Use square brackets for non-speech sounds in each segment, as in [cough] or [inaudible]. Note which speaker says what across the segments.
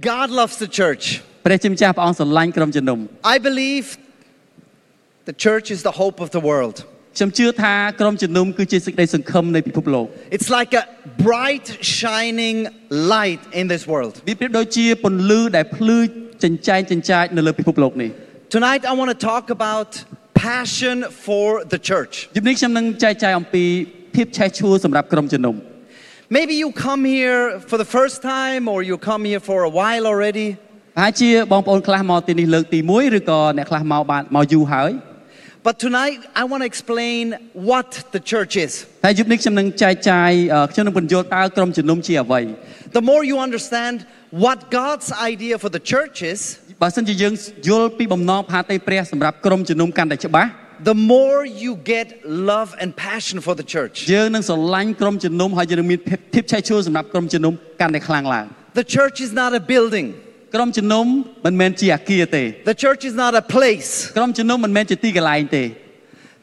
Speaker 1: God loves the church.
Speaker 2: ព្រះជាម្ចាស់ព្រះអង្គស្រឡាញ់ក្រុមជំនុំ
Speaker 1: I believe the church is the hope of the world.
Speaker 2: ខ្ញុំជឿថាក្រុមជំនុំគឺជាសេចក្តីសង្ឃឹមនៃពិភពលោក
Speaker 1: It's like a bright, shining light in this world.
Speaker 2: វាប្រៀបដូចជាពន្លឺដែលភ្លឺចិញ្ចែងចិញ្ចាចនៅលើពិភពលោកនេះ
Speaker 1: Tonight, I want to talk about passion for the church.
Speaker 2: យប់នេះខ្ញុំនឹងចែកចាយអំពីភាពឆេះឈួលសម្រាប់ក្រុមជំនុំ
Speaker 1: Maybe you come here for the first time, or you come here for a while already.
Speaker 2: ហើយជាបងប្អូនខ្លះមកទីនេះលើកទី1ឬក៏អ្នកខ្លះមកបានមកយូរហើយ
Speaker 1: But tonight, I want to explain what the church is.
Speaker 2: តែយប់នេះខ្ញុំនឹងចែកចាយអឺខ្ញុំនឹងពន្យល់តើក្រុមជំនុំជាអ្វី
Speaker 1: The more you understand what God's idea for the church is,
Speaker 2: បើសិនជាយើងយល់ពីបំណងផាតីព្រះសម្រាប់ក្រុមជំនុំកាន់តែច្បាស់
Speaker 1: the more you get love and passion for the church.
Speaker 2: យើងនឹងស្រឡាញ់ក្រុមជំនុំហើយយើងនឹងមានភាពភាពឆេះឈួលសម្រាប់ក្រុមជំនុំកាន់តែខ្លាំងឡើង
Speaker 1: The church is not a building,
Speaker 2: ក្រុមជំនុំមិនមែនជាអាគារទេ
Speaker 1: the church is not a place,
Speaker 2: ក្រុមជំនុំមិនមែនជាទីកន្លែងទេ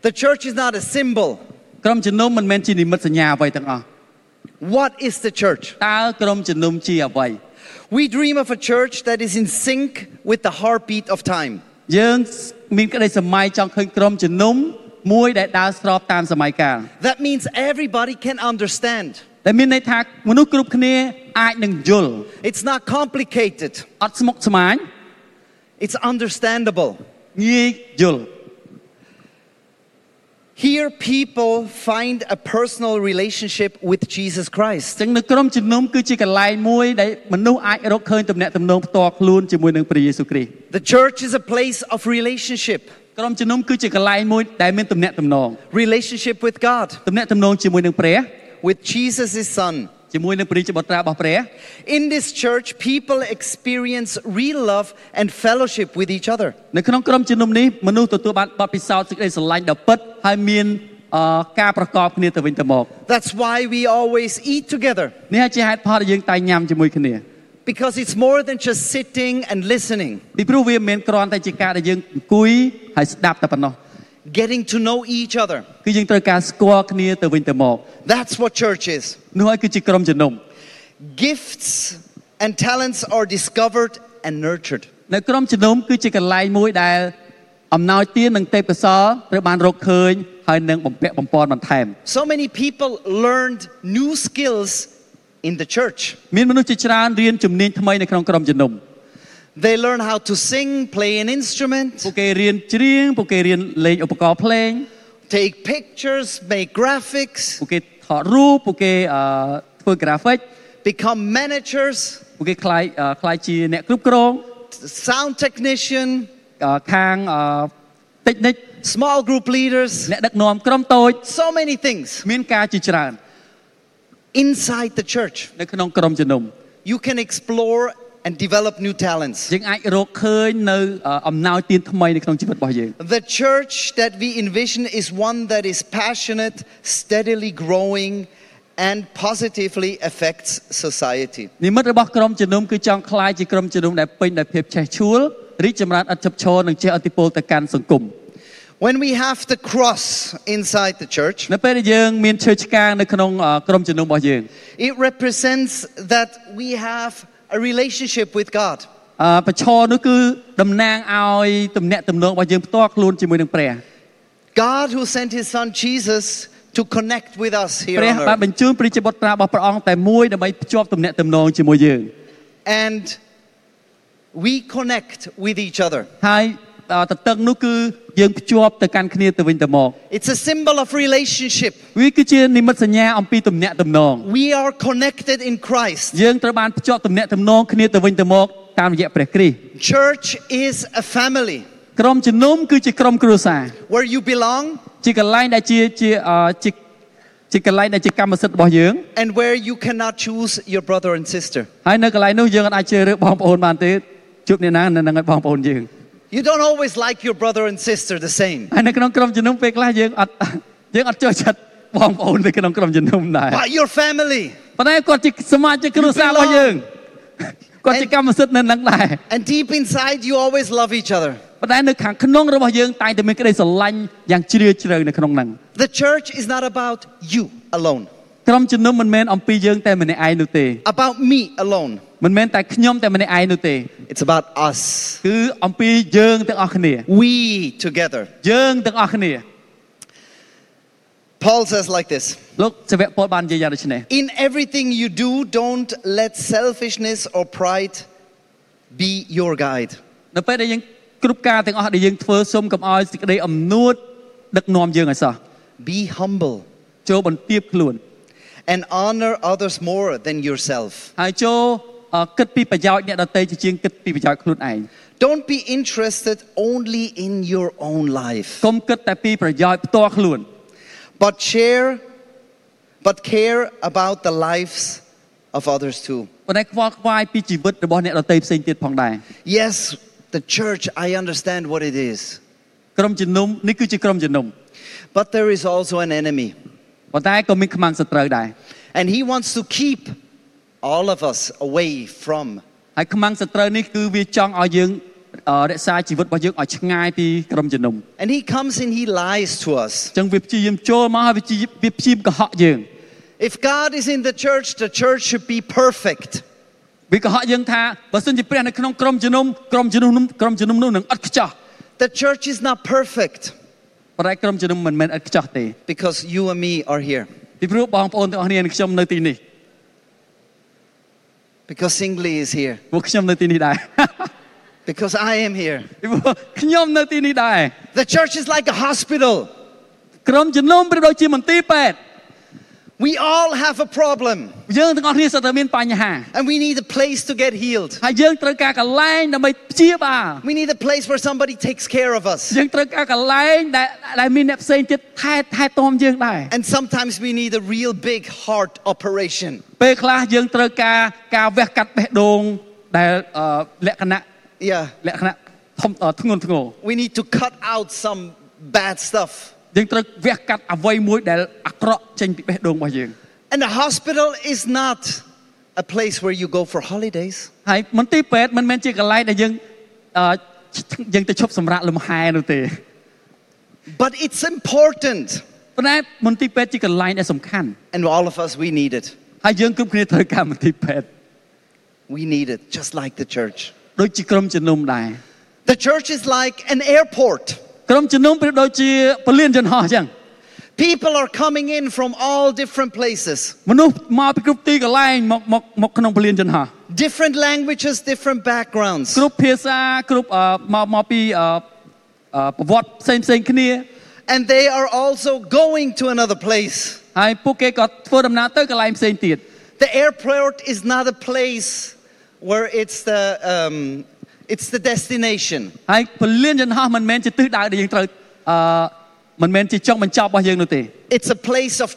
Speaker 1: the church is not a symbol.
Speaker 2: ក្រុមជំនុំមិនមែនជានិមិត្តសញ្ញាអ្វីទាំងអស់
Speaker 1: What is the church?
Speaker 2: តើក្រុមជំនុំជាអ្វី
Speaker 1: We dream of a church that is in sync with the heartbeat of time.
Speaker 2: យើងមានក្តីសម័យចង់ឃើញក្រុមជំនុំមួយដែលដើរស្របតាមសម័យកាល
Speaker 1: That means everybody can understand.
Speaker 2: ដែលមានន័យថាមនុស្សគ្រប់គ្នាអាចនឹងយល់
Speaker 1: It's not complicated,
Speaker 2: អត់ស្មុគស្មាញ
Speaker 1: it's understandable.
Speaker 2: ងាយយល់
Speaker 1: Here, people find a personal relationship with Jesus
Speaker 2: អ
Speaker 1: Christ.
Speaker 2: ញ្ចឹងនៅក្រុមជំនុំគឺជាកន្លែងមួយដែលមនុស្សអាចរកឃើញទំនាក់ទំនងផ្ទាល់ខ្លួនជាមួយនឹងព្រះយេស៊ូវគ្រីស្ទ
Speaker 1: The church is a place of relationship
Speaker 2: ក្រុមជំនុំគឺជាកន្លែងមួយដែលមានទំនាក់ទំនង
Speaker 1: relationship with God,
Speaker 2: ទំនាក់ទំនងជាមួយនឹងព្រះ
Speaker 1: with Jesus, his son.
Speaker 2: ជាមួយនឹងព្រះជាបុត្រារបស់ព្រះ
Speaker 1: In this church, people experience real love and fellowship with each other.
Speaker 2: នៅក្នុងក្រុមជំនុំនេះមនុស្សទទួលបានបទពិសោធន៍សេចក្តីស្រឡាញ់ដ៏ពិតហើយមានអឺការប្រកបគ្នាទៅវិញទៅមក
Speaker 1: That's why we always eat together,
Speaker 2: នេះហើយជាហេតុផលដែលយើងតែងញ៉ាំជាមួយគ្នា
Speaker 1: because it's more than just sitting and listening.
Speaker 2: ពីព្រោះវាមិនមែនគ្រាន់តែជាការដែលយើងអង្គុយហើយស្ដាប់តែប៉ុណ្ណោះ
Speaker 1: Getting to know each other.
Speaker 2: គឺយើងត្រូវការស្គាល់គ្នាទៅវិញទៅមក
Speaker 1: That's what church is.
Speaker 2: នោះហើយគឺជាក្រុមជំនុំ
Speaker 1: Gifts and talents are discovered and nurtured.
Speaker 2: នៅក្រុមជំនុំគឺជាកន្លែងមួយដែលអំណោយទាននិងទេពកោសលត្រូវបានរកឃើញហើយនឹងបំពាក់បំពន់បន្ថែម
Speaker 1: So many people learned new skills in the church.
Speaker 2: មានមនុស្សជាច្រើនរៀនជំនាញថ្មីនៅក្នុងក្រុមជំនុំ
Speaker 1: They learn how to sing, play an instrument,
Speaker 2: ពួកគេរៀនច្រៀងពួកគេរៀនលេងឧបករណ៍ភ្លេង
Speaker 1: take pictures, make graphics,
Speaker 2: ពួកគេថតរូបពួកគេអឺធ្វើ graphic
Speaker 1: become managers,
Speaker 2: ពួកគេខ្លាយអឺខ្លាយជាអ្នកគ្រប់គ្រង
Speaker 1: sound technician,
Speaker 2: អឺខាងអឺ technic
Speaker 1: small group leaders,
Speaker 2: អ្នកដឹកនាំក្រុមតូច
Speaker 1: so many things
Speaker 2: មានការជាច្រើន
Speaker 1: inside the church.
Speaker 2: នៅក្នុងក្រុមជំនុំ
Speaker 1: You can explore and develop new talents.
Speaker 2: យើងអាចរកឃើញនៅអឺអំណោយទានថ្មីនៅក្នុងជីវិតរបស់យើង
Speaker 1: The church that we envision is one that is passionate, steadily growing, and positively affects society.
Speaker 2: និមិត្តរបស់ក្រុមជំនុំគឺចង់คล้ายជាក្រុមជំនុំដែលពេញដោយភាពចេះឈួលរីកចម្រើនឥតឈប់ឈរនិងចេះអធិពលទៅកាន់សង្គម
Speaker 1: When we have the cross inside the church,
Speaker 2: នៅពេលដែលយើងមានឈើឆ្កាងនៅក្នុងអឺក្រុមជំនុំរបស់យើង
Speaker 1: It represents that we have a relationship with God.
Speaker 2: អឺបញ្ឈរនោះគឺតំណាងឲ្យទំនាក់ទំនងរបស់យើងផ្ទាល់ខ្លួនជាមួយនឹងព្រះ
Speaker 1: God who sent his son Jesus to connect with us here
Speaker 2: ព្រះបាន
Speaker 1: on earth.
Speaker 2: បញ្ជូនព្រះជាបុត្រារបស់ព្រះអង្គតែមួយដើម្បីភ្ជាប់ទំនាក់ទំនងជាមួយយើង
Speaker 1: And we connect with each other.
Speaker 2: ហើយអឺទន្ទឹងនោះគឺយើងភ្ជាប់ទៅកាន់គ្នាទៅវិញទៅមក
Speaker 1: It's a symbol of relationship.
Speaker 2: វាគឺជានិមិត្តសញ្ញាអំពីទំនាក់ទំនង
Speaker 1: We are connected in Christ.
Speaker 2: យើងត្រូវបានភ្ជាប់ទំនាក់ទំនងគ្នាទៅវិញទៅមកតាមរយៈព្រះគ្រីស្ទ
Speaker 1: Church is a family
Speaker 2: ក្រុមជំនុំគឺជាក្រុមគ្រួសារ
Speaker 1: where you belong
Speaker 2: ជាកន្លែងដែលជាជាអឺជាជាកន្លែងដែលជាកម្មសិទ្ធិរបស់យើង
Speaker 1: and where you cannot choose your brother and sister.
Speaker 2: ហើយនៅកន្លែងនោះយើងអាចជ្រើសរើសបងប្អូនបានទេជួបអ្នកណានៅនឹងឲ្យបងប្អូនយើង
Speaker 1: You don't always like your brother and sister the same.
Speaker 2: ហើយនៅក្នុងក្រុមជំនុំពេលខ្លះយើងអត់ យើងអត់ចូលចិត្តបងប្អូននៅក្នុងក្រុមជំនុំដែរ
Speaker 1: But your family
Speaker 2: ប៉ុន្តែគាត់ជាសមាជិកគ្រួសាររបស់យើងគាត់ជាកម្មសិទ្ធិនៅនឹងដែរ
Speaker 1: and deep inside you always love each other.
Speaker 2: ប៉ុន្តែនៅខាងក្នុងរបស់យើងតែងតែមានក្តីស្រឡាញ់យ៉ាងជ្រាលជ្រៅនៅក្នុងហ្នឹង
Speaker 1: The church is not about you alone.
Speaker 2: ក្រុមជំនុំមិនមែនអំពីយើងតែម្នាក់ឯងនោះទេ
Speaker 1: about me alone.
Speaker 2: មិនមែនតែខ្ញុំតែម្នាក់ឯងនោះទេ
Speaker 1: It's about us.
Speaker 2: គឺអំពីយើងទាំងអស់គ្នា
Speaker 1: We together.
Speaker 2: យើងទាំងអស់គ្នា
Speaker 1: Paul says like this
Speaker 2: លោកសាវកពលបាននិយាយយ៉ាងដូចនេះ
Speaker 1: In everything you do, don't let selfishness or pride be your guide.
Speaker 2: នៅពេលដែលយើងគ្រប់ការទាំងអស់ដែលយើងធ្វើសូមកុំឲ្យសេចក្តីអំនួតដឹកនាំយើងឲ្យសោះ
Speaker 1: Be humble
Speaker 2: ចូលបន្ទាបខ្លួន
Speaker 1: and honor others more than yourself.
Speaker 2: ហើយចូលអ่าគិតពីប្រយោជន៍អ្នកដទៃជាជាងគិតពីប្រយោជន៍ខ្លួនឯង
Speaker 1: Don't be interested only in your own life,
Speaker 2: កុំគិតតែពីប្រយោជន៍ផ្ទាល់ខ្លួន
Speaker 1: but share, but care about the lives of others too.
Speaker 2: ប៉ុន្តែខ្វល់ខ្វាយពីជីវិតរបស់អ្នកដទៃផ្សេងទៀតផងដែរ
Speaker 1: Yes, the church, I understand what it is,
Speaker 2: ក្រុមជំនុំនេះគឺជាក្រុមជំនុំ
Speaker 1: but there is also an enemy,
Speaker 2: ប៉ុន្តែក៏មានខ្មាំងសត្រូវដែរ
Speaker 1: and he wants to keep all of us away from
Speaker 2: ហើយខ្មាំងសត្រូវនេះគឺវាចង់ឲ្យយើងអ่าរក្សាជីវិតរបស់យើងឲ្យឆ្ងាយពីក្រុមជំនុំ
Speaker 1: And he comes and he lies to us.
Speaker 2: អញ្ចឹងវាព្យាយាមចូលមកហើយវាព្យាយាមវាព្យាយាមកុហកយើង
Speaker 1: If God is in the church, the church should be perfect.
Speaker 2: វាកុហកយើងថាបើសិនជាព្រះនៅក្នុងក្រុមជំនុំក្រុមជំនុំនោះក្រុមជំនុំនោះនឹងអត់ខ្ចោះ
Speaker 1: The church is not perfect
Speaker 2: ប៉ុន្តែក្រុមជំនុំមិនមែនអត់ខ្ចោះទេ
Speaker 1: because you and me are here,
Speaker 2: ពីព្រោះបងប្អូនទាំងអស់គ្នានិងខ្ញុំនៅទីនេះ
Speaker 1: because Singly is here,
Speaker 2: ពួកខ្ញុំនៅទីនេះដែរ [laughs]
Speaker 1: because I am here.
Speaker 2: ពីព្រោះខ្ញុំនៅទីនេះដែរ
Speaker 1: The church is like a hospital.
Speaker 2: ក្រុមជំនុំប្រៀបដូចជាមន្ទីរពេទ្យ
Speaker 1: We all have a problem
Speaker 2: យើងទាំងអស់គ្នាសុទ្ធតែមានបញ្ហា
Speaker 1: and we need a place to get healed.
Speaker 2: ហើយយើងត្រូវការកន្លែងដើម្បីព្យាបាល
Speaker 1: We need a place where somebody takes care of us.
Speaker 2: យើងត្រូវការកន្លែងដែលដែលមានអ្នកផ្សេងទៀតថែថែទាំយើងដែរ
Speaker 1: And sometimes we need a real big heart operation.
Speaker 2: ពេលខ្លះយើងត្រូវការការវះកាត់បេះដូងដែលអឺលក្ខណៈ
Speaker 1: Yeah.
Speaker 2: លក្ខណៈធំអធ្ងន់ធ្ងរ
Speaker 1: We need to cut out some bad stuff.
Speaker 2: យើងត្រូវវះកាត់អ្វីមួយដែលអាក្រក់ចេញពីបេះដូងរបស់យើង
Speaker 1: And the hospital is not a place where you go for holidays.
Speaker 2: ហើយមន្ទីរពេទ្យមិនមែនជាកន្លែងដែលយើងអឺយើងទៅឈប់សម្រាកលំហែនោះទេ
Speaker 1: But it's important.
Speaker 2: ប៉ុន្តែមន្ទីរពេទ្យជាកន្លែងដែលសំខាន់
Speaker 1: And all of us, we need it.
Speaker 2: ហើយយើងគ្រប់គ្នាត្រូវការមន្ទីរពេទ្យ
Speaker 1: We need it, just like the church.
Speaker 2: ដូចជាក្រុមជំនុំដែរ
Speaker 1: The church is like an airport.
Speaker 2: ក្រុមជំនុំប្រៀបដូចជាពលានយន្តហោះអញ្ចឹង
Speaker 1: People are coming in from all different places,
Speaker 2: មនុស្សមកពីគ្រប់ទីកន្លែងមកមកមកក្នុងពលានយន្តហោះ
Speaker 1: different languages, different backgrounds.
Speaker 2: គ្រប់ភាសាគ្រប់អឺមកមកពីអឺអឺប្រវត្តិផ្សេងផ្សេងៗគ្នា
Speaker 1: And they are also going to another place.
Speaker 2: ហើយពួកគេក៏ធ្វើដំណើរទៅកន្លែងផ្សេងទៀត
Speaker 1: The airport is not a place where it's the, um, it's the destination.
Speaker 2: ហើយពលានយន្តហោះមិនមែនជាទិសដៅដែលយើងត្រូវអឺមិនមែនជាចុងបញ្ចប់របស់យើងនោះទេ
Speaker 1: It's a place of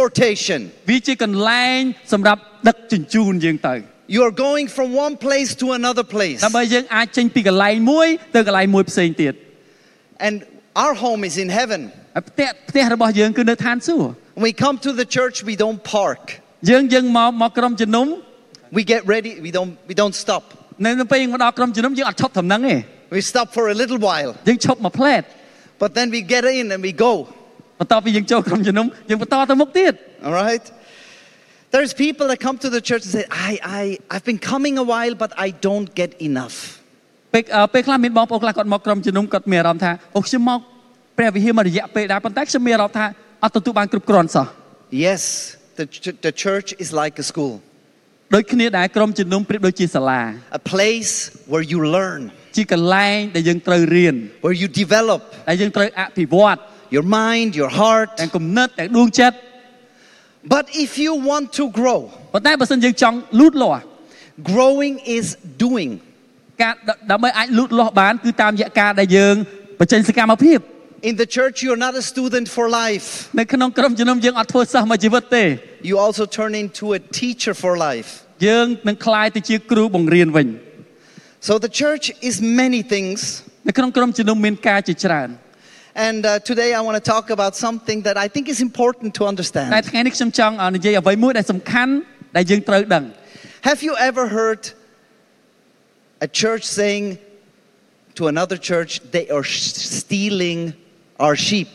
Speaker 1: transportation.
Speaker 2: វាជាកន្លែងសម្រាប់ដឹកជញ្ជូនយើងទៅ
Speaker 1: You are going from one place to another place.
Speaker 2: ដើម្បីយើងអាចចេញពីកន្លែងមួយទៅកន្លែងមួយផ្សេងទៀត
Speaker 1: And our home is in heaven.
Speaker 2: ហើយផ្ទះផ្ទះរបស់យើងគឺនៅឋានសួគ៌
Speaker 1: When we come to the church, we don't park.
Speaker 2: យើងយើងមកមកក្រុមជំនុំ
Speaker 1: We get ready. We don't, we don't stop.
Speaker 2: នៅនៅពេលយើងមកដល់ក្រុមជំនុំយើងអត់ឈប់ដំណឹងទេ
Speaker 1: We stop for a little while.
Speaker 2: យើងឈប់មកផ្លែត
Speaker 1: But then we get in and we go.
Speaker 2: បន្ទាប់ពីយើងចូលក្រុមជំនុំយើងបន្តទៅមុខទៀត
Speaker 1: All right? There's people that come to the church and say, I, I, I've been coming a while, but I don't get enough.
Speaker 2: ពេលអឺពេលខ្លះមានបងប្អូនខ្លះគាត់មកក្រុមជំនុំគាត់មានអារម្មណ៍ថាអូខ្ញុំមកព្រះវិហារមករយៈពេលដែរប៉ុន្តែខ្ញុំមានអារម្មណ៍ថាអត់ទទួលបានគ្រប់គ្រាន់សោះ
Speaker 1: Yes, the, ch- the church is like a school,
Speaker 2: ដូចគ្នាដែរក្រុមជំនុំប្រៀបដូចជាសាលា
Speaker 1: a place where you learn,
Speaker 2: ជាកន្លែងដែលយើងត្រូវរៀន
Speaker 1: where you develop
Speaker 2: ដែលយើងត្រូវអភិវឌ្ឍ
Speaker 1: your mind, your heart.
Speaker 2: ទាំងគំនិតទាំងដួងចិត្ត
Speaker 1: But if you want to grow,
Speaker 2: ប៉ុន្តែបើសិនយើងចង់លូតលាស់
Speaker 1: growing is doing.
Speaker 2: ការដដើម្បីអាចលូតលាស់បានគឺតាមរយៈការដែលយើងបញ្ចេញសកម្មភាព
Speaker 1: In the church, you're not a student for life.
Speaker 2: នៅក្នុងក្រុមជំនុំយើងអត់ធ្វើសោះមួយជីវិតទេ
Speaker 1: You also turn into a teacher for life.
Speaker 2: យើងនឹងក្លាយទៅជាគ្រូបង្រៀនវិញ
Speaker 1: So the church is many things.
Speaker 2: នៅក្នុងក្រុមជំនុំមានការជាច្រើន
Speaker 1: And uh, today I want to talk about something that I think is important to
Speaker 2: តែ
Speaker 1: understand.
Speaker 2: ថ្ងៃនេះខ្ញុំចង់អ่าនិយាយអ្វីមួយដែលសំខាន់ដែលយើងត្រូវដឹង
Speaker 1: Have you ever heard a church saying to another church, they are sh- stealing our sheep?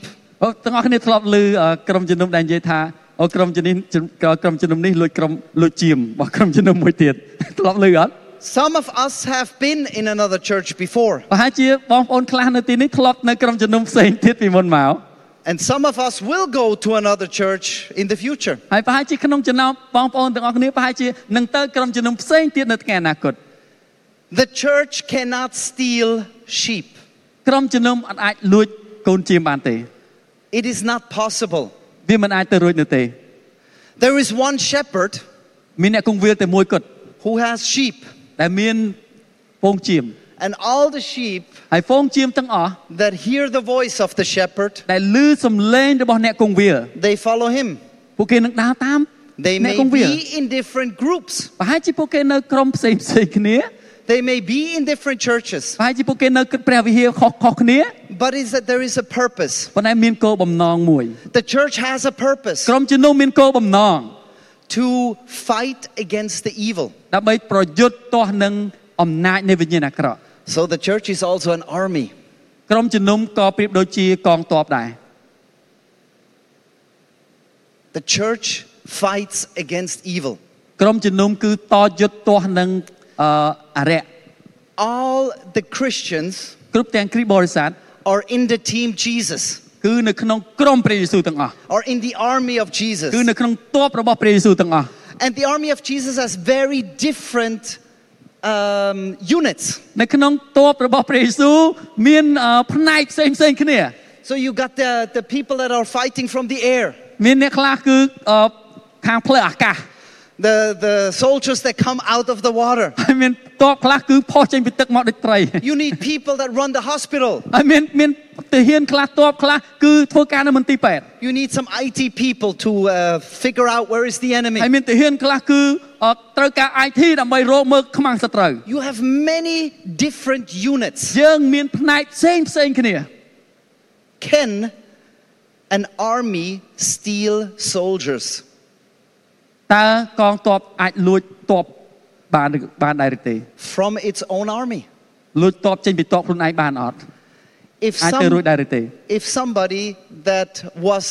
Speaker 2: អូទាំងអស់គ្នាធ្លាប់ឮអ่าក្រុមជំនុំដែលនិយាយថា អូក្រុមជំនុំក៏ក្រុមជំនុំនេះលួចក្រុមលួចជាមរបស់ក្រុមជំនុំមួយទៀត [laughs] ធ្លាប់លើអត់
Speaker 1: Some of us have been in another church before,
Speaker 2: ប្រហែលជាបងប្អូនខ្លះនៅទីនេះធ្លាប់នៅក្រុមជំនុំផ្សេងទៀតពីមុនមក
Speaker 1: and some of us will go to another church in the future.
Speaker 2: ហើយប្រហែលជាក្នុងចំណោមបងប្អូនទាំងអស់គ្នាប្រហែលជានឹងទៅក្រុមជំនុំផ្សេងទៀតនៅថ្ងៃអនាគត
Speaker 1: The church cannot steal sheep,
Speaker 2: ក្រុមជំនុំអត់អាចលួចកូនជាមបានទេ
Speaker 1: it is not possible.
Speaker 2: វាមិនអាចទៅរួចនោះទេ
Speaker 1: There is one shepherd
Speaker 2: មានអ្នកគង្វាលតែមួយគត់
Speaker 1: who has sheep,
Speaker 2: ដែលមានពងជាម
Speaker 1: and all the sheep
Speaker 2: ហើយពងជាមទាំងអស់
Speaker 1: that hear the voice of the shepherd,
Speaker 2: ដែលឮសំឡេងរបស់អ្នកគង្វាល
Speaker 1: they follow him.
Speaker 2: ពួកគេនឹងដើរតាម
Speaker 1: They
Speaker 2: អ្នក
Speaker 1: may
Speaker 2: គង្វាល
Speaker 1: be in different groups,
Speaker 2: ប្រហែលជាពួកគេនៅក្រុមផ្សេងផ្សេងគ្នា
Speaker 1: they may be in different churches,
Speaker 2: ប្រហែលជាពួកគេនៅព្រះវិហារខុសៗគ្នា
Speaker 1: but is that there is a purpose.
Speaker 2: ប៉ុន្តែមានគោលបំណងមួយ
Speaker 1: The church has a purpose
Speaker 2: ក្រុមជំនុំមានគោលបំណង
Speaker 1: to fight against the evil.
Speaker 2: ដើម្បីប្រយុទ្ធទាស់នឹងអំណាចនៃវិញ្ញាណអាក្រក់
Speaker 1: So the church is also an army.
Speaker 2: ក្រុមជំនុំក៏ប្រៀបដូចជាកងទ័ពដែរ
Speaker 1: The church fights against evil.
Speaker 2: ក្រុមជំនុំគឺតយុទ្ធទាស់នឹងអឺអរិយ
Speaker 1: All the Christians
Speaker 2: គ្រប់ទាំងគ្រីស្ទបរិស័ទ
Speaker 1: are in the team Jesus,
Speaker 2: គឺនៅក្នុងក្រុមព្រះយេស៊ូវទាំងអស់
Speaker 1: are in the army of
Speaker 2: គឺ
Speaker 1: Jesus.
Speaker 2: នៅក្នុងទ័ពរបស់ព្រះយេស៊ូវទាំងអស់
Speaker 1: And the army of Jesus has very different um, units.
Speaker 2: នៅក្នុងទ័ពរបស់ព្រះយេស៊ូវមានអឺផ្នែកផ្សេងផ្សេងៗគ្នា
Speaker 1: So you got the, the people that are fighting from the air,
Speaker 2: មានអ្នកខ្លះគឺអឺខាងផ្លូវអាកាស [laughs]
Speaker 1: the, the soldiers that come out of the water.
Speaker 2: ហើយមានទ័ពខ្លះគឺផុសចេញពីទឹកមកដូចត្រី [laughs]
Speaker 1: You need people that run the hospital.
Speaker 2: ហើយមានមានទាហានខ្លះទ័ពខ្លះគឺធ្វើការនៅមន្ទីរពេទ្យ [laughs]
Speaker 1: You need some IT people to uh, figure out where is the
Speaker 2: ហើយ
Speaker 1: enemy.
Speaker 2: មានទាហានខ្លះគឺអឺត្រូវការ IT ដើម្បីរកមើលខ្មាំងសត្រូវ
Speaker 1: You have many different units.
Speaker 2: យើងមានផ្នែកផ្សេងផ្សេងគ្នា
Speaker 1: Can an army steal soldiers?
Speaker 2: តើកងទ័ពអាចលួចទ័ពបានឬបានដែរឬទេ
Speaker 1: from its own army.
Speaker 2: លួចទ័ពចេញពីទ័ពខ្លួនឯងបានអត់
Speaker 1: If,
Speaker 2: អាចទៅរួច
Speaker 1: some,
Speaker 2: ដែរឬទេ
Speaker 1: if somebody that was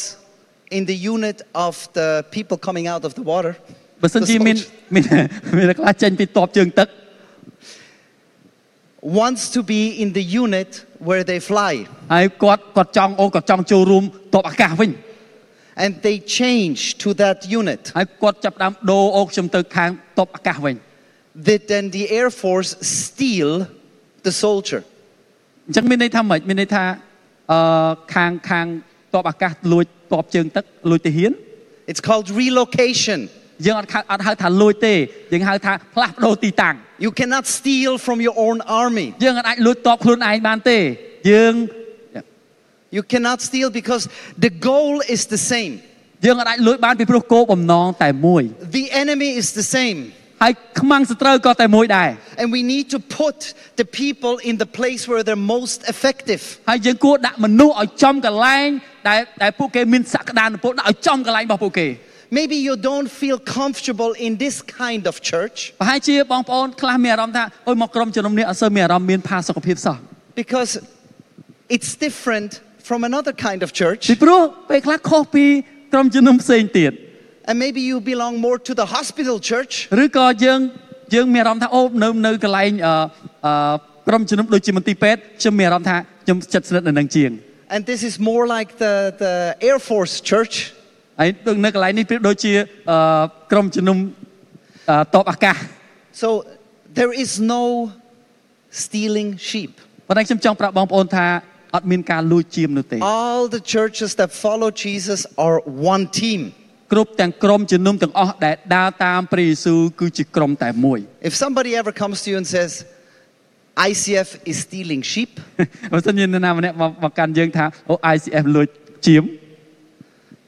Speaker 1: in the unit of the people coming out of the water,
Speaker 2: បើសិនជាមានមានមានអ្នកខ្លះចេញពីទ័ពជើងទឹក
Speaker 1: wants to be in the unit where they fly,
Speaker 2: ហើយគាត់គាត់ចង់អូគាត់ចង់ចូលរួមទ័ពអាកាសវិញ
Speaker 1: and they change to that unit,
Speaker 2: ហើយគាត់ចាប់ផ្ដើមដូរអូខ្ញុំទៅខាងទ័ពអាកាសវិញ
Speaker 1: did then the Air Force steal the soldier?
Speaker 2: អញ្ចឹងមានន័យថាម៉េចមានន័យថាអឺខាងខាងតបអាកាសលួចតបជើងទឹកលួចទាហាន
Speaker 1: It's called relocation.
Speaker 2: យើងអត់ខៅអត់ហៅថាលួចទេយើងហៅថាផ្លាស់ប្ដូរទីតាំង
Speaker 1: You cannot steal from your own army.
Speaker 2: យើងអត់អាចលួចតបខ្លួនឯងបានទេយើង
Speaker 1: You cannot steal because the goal is the same.
Speaker 2: យើងអត់អាចលួចបានពីព្រោះគោលបំណងតែមួយ
Speaker 1: The enemy is the same.
Speaker 2: ហើយខ្មាំងសត្រូវក៏តែមួយដែរ
Speaker 1: And we need to put the people in the place where they're most effective.
Speaker 2: ហើយយើងគួរដាក់មនុស្សឲ្យចំកន្លែងដែលដែលពួកគេមានសក្តានុពលដាក់ឲ្យចំកន្លែងរបស់ពួកគេ
Speaker 1: Maybe you don't feel comfortable in this kind of church
Speaker 2: ប្រហែលជាបងប្អូនខ្លះមានអារម្មណ៍ថាអុយមកក្រុមជំនុំនេះអត់សូវមានអារម្មណ៍មានផាសុខភាពសោះ
Speaker 1: because it's different from another kind of
Speaker 2: ពី
Speaker 1: church.
Speaker 2: ព្រោះពេលខ្លះខុសពីក្រុមជំនុំផ្សេងទៀត
Speaker 1: And maybe you belong more to the hospital church
Speaker 2: ឬក៏យើងយើងមានអារម្មណ៍ថាអូនៅនៅកន្លែងអអឺក្រុមជំនុំដូចជាមន្ទីរពេទ្យខ្ញុំមានអារម្មណ៍ថាខ្ញុំចិត្តស្និទ្ធនៅនឹងជាង
Speaker 1: and this is more like the, the Air Force church.
Speaker 2: ហើយដូចនៅកន្លែងនេះប្រៀបដូចជាអឺក្រុមជំនុំអឺតបអាកាស
Speaker 1: So there is no stealing sheep.
Speaker 2: ប៉ុន្តែខ្ញុំចង់ប្រាប់បងប្អូនថាអត់មានការលួចជាមនោះទេ
Speaker 1: All the churches that follow Jesus are one team.
Speaker 2: គ្រប់ទាំងក្រុមជំនុំទាំងអស់ដែលដើរតាមព្រះយេស៊ូវគឺជាក្រុមតែមួយ
Speaker 1: If somebody ever comes to you and says, ICF is stealing sheep,
Speaker 2: បើសិនជានរណាម្នាក់មកមកកាន់យើងថាអូ ICF លួចជាម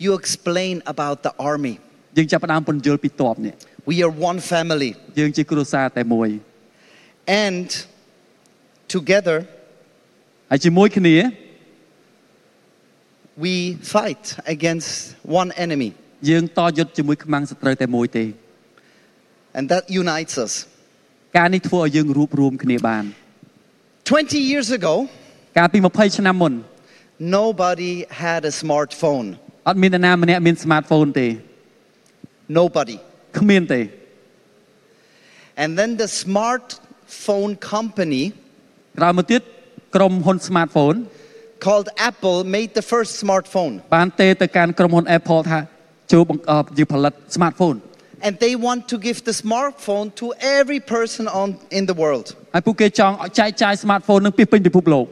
Speaker 1: you explain about the army.
Speaker 2: យើងចាប់ផ្ដើមពន្យល់ពីតបនេះ
Speaker 1: We are one family,
Speaker 2: យើងជាគ្រួសារតែមួយ
Speaker 1: and together
Speaker 2: ហើយជាមួយគ្នា
Speaker 1: we fight against one enemy,
Speaker 2: យើងតយុទ្ធជាមួយខ្មាំងសត្រូវតែមួយទេ
Speaker 1: and that unites us.
Speaker 2: ការនេះធ្វើឲ្យយើងរួបរวมគ្នាបាន
Speaker 1: 20 years ago,
Speaker 2: កាលពី20ឆ្នាំមុន
Speaker 1: nobody had a smartphone.
Speaker 2: អត់មាននរណាម្នាក់មាន smartphone ទេ
Speaker 1: Nobody.
Speaker 2: គ្មានទេ
Speaker 1: And then the smartphone company
Speaker 2: ក្រោយមកទៀតក្រុមហ៊ុន smartphone
Speaker 1: called Apple made the first smartphone.
Speaker 2: បានទេទៅកាន់ក្រុមហ៊ុន Apple ថាចូលបង្អប់យីផលិត smartphone
Speaker 1: And they want to give the smartphone to every person on, in the world.
Speaker 2: ហើយពួកគេចង់ចែកចាយ smartphone នឹងពីពេញពិភពលោក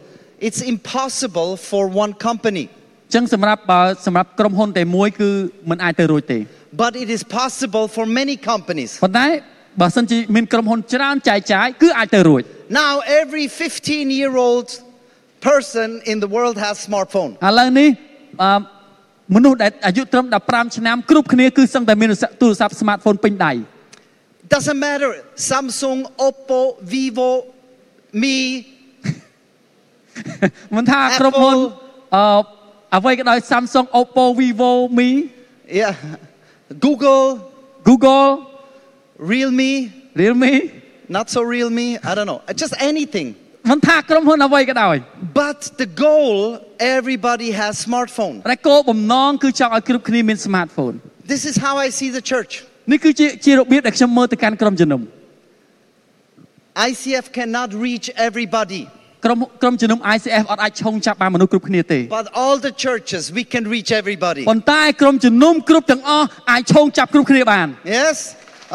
Speaker 1: It's impossible for one company,
Speaker 2: អញ្ចឹងសម្រាប់បើសម្រាប់ក្រុមហ៊ុនតែមួយគឺมันអាចទៅរួចទេ
Speaker 1: but it is possible for many companies.
Speaker 2: ប៉ុន្តែបើសិនជាមានក្រុមហ៊ុនច្រើនចែកចាយគឺអាចទៅរួច
Speaker 1: Now every 15 year old person in the world has smartphone.
Speaker 2: ឥឡូវនេះអឺមនុស្សដែលអាយុត្រឹម15ឆ្នាំគ្រប់គ្នាគឺសឹងតែមានទូរស័ព្ទ smartphone ពេញដៃ
Speaker 1: Doesn't matter Samsung, Oppo, Vivo, me,
Speaker 2: មិនថាក្រុមហ៊ុន
Speaker 1: Apple
Speaker 2: អឺអ្វីក៏ដោយ Samsung Oppo Vivo Mi
Speaker 1: yeah, Google,
Speaker 2: Google
Speaker 1: real me,
Speaker 2: Realme
Speaker 1: not so real me, I don't know. Just anything.
Speaker 2: មិនថាក្រុមហ៊ុនអ្វីក៏ដោយ
Speaker 1: But the goal everybody has smartphone.
Speaker 2: តែគោលបំណងគឺចង់ឲ្យគ្រប់គ្នាមាន smartphone
Speaker 1: This is how I see the church.
Speaker 2: នេះគឺជាជារបៀបដែលខ្ញុំមើលទៅកាន់ក្រុមជំនុំ
Speaker 1: ICF cannot reach everybody,
Speaker 2: ក្រុមក្រុមជំនុំ ICF អត់អាចឆុងចាប់បានមនុស្សគ្រប់គ្នាទេ
Speaker 1: but all the churches we can reach everybody.
Speaker 2: ប៉ុន្តែក្រុមជំនុំគ្រប់ទាំងអស់អាចឆុងចាប់គ្រប់គ្នាបាន
Speaker 1: Yes?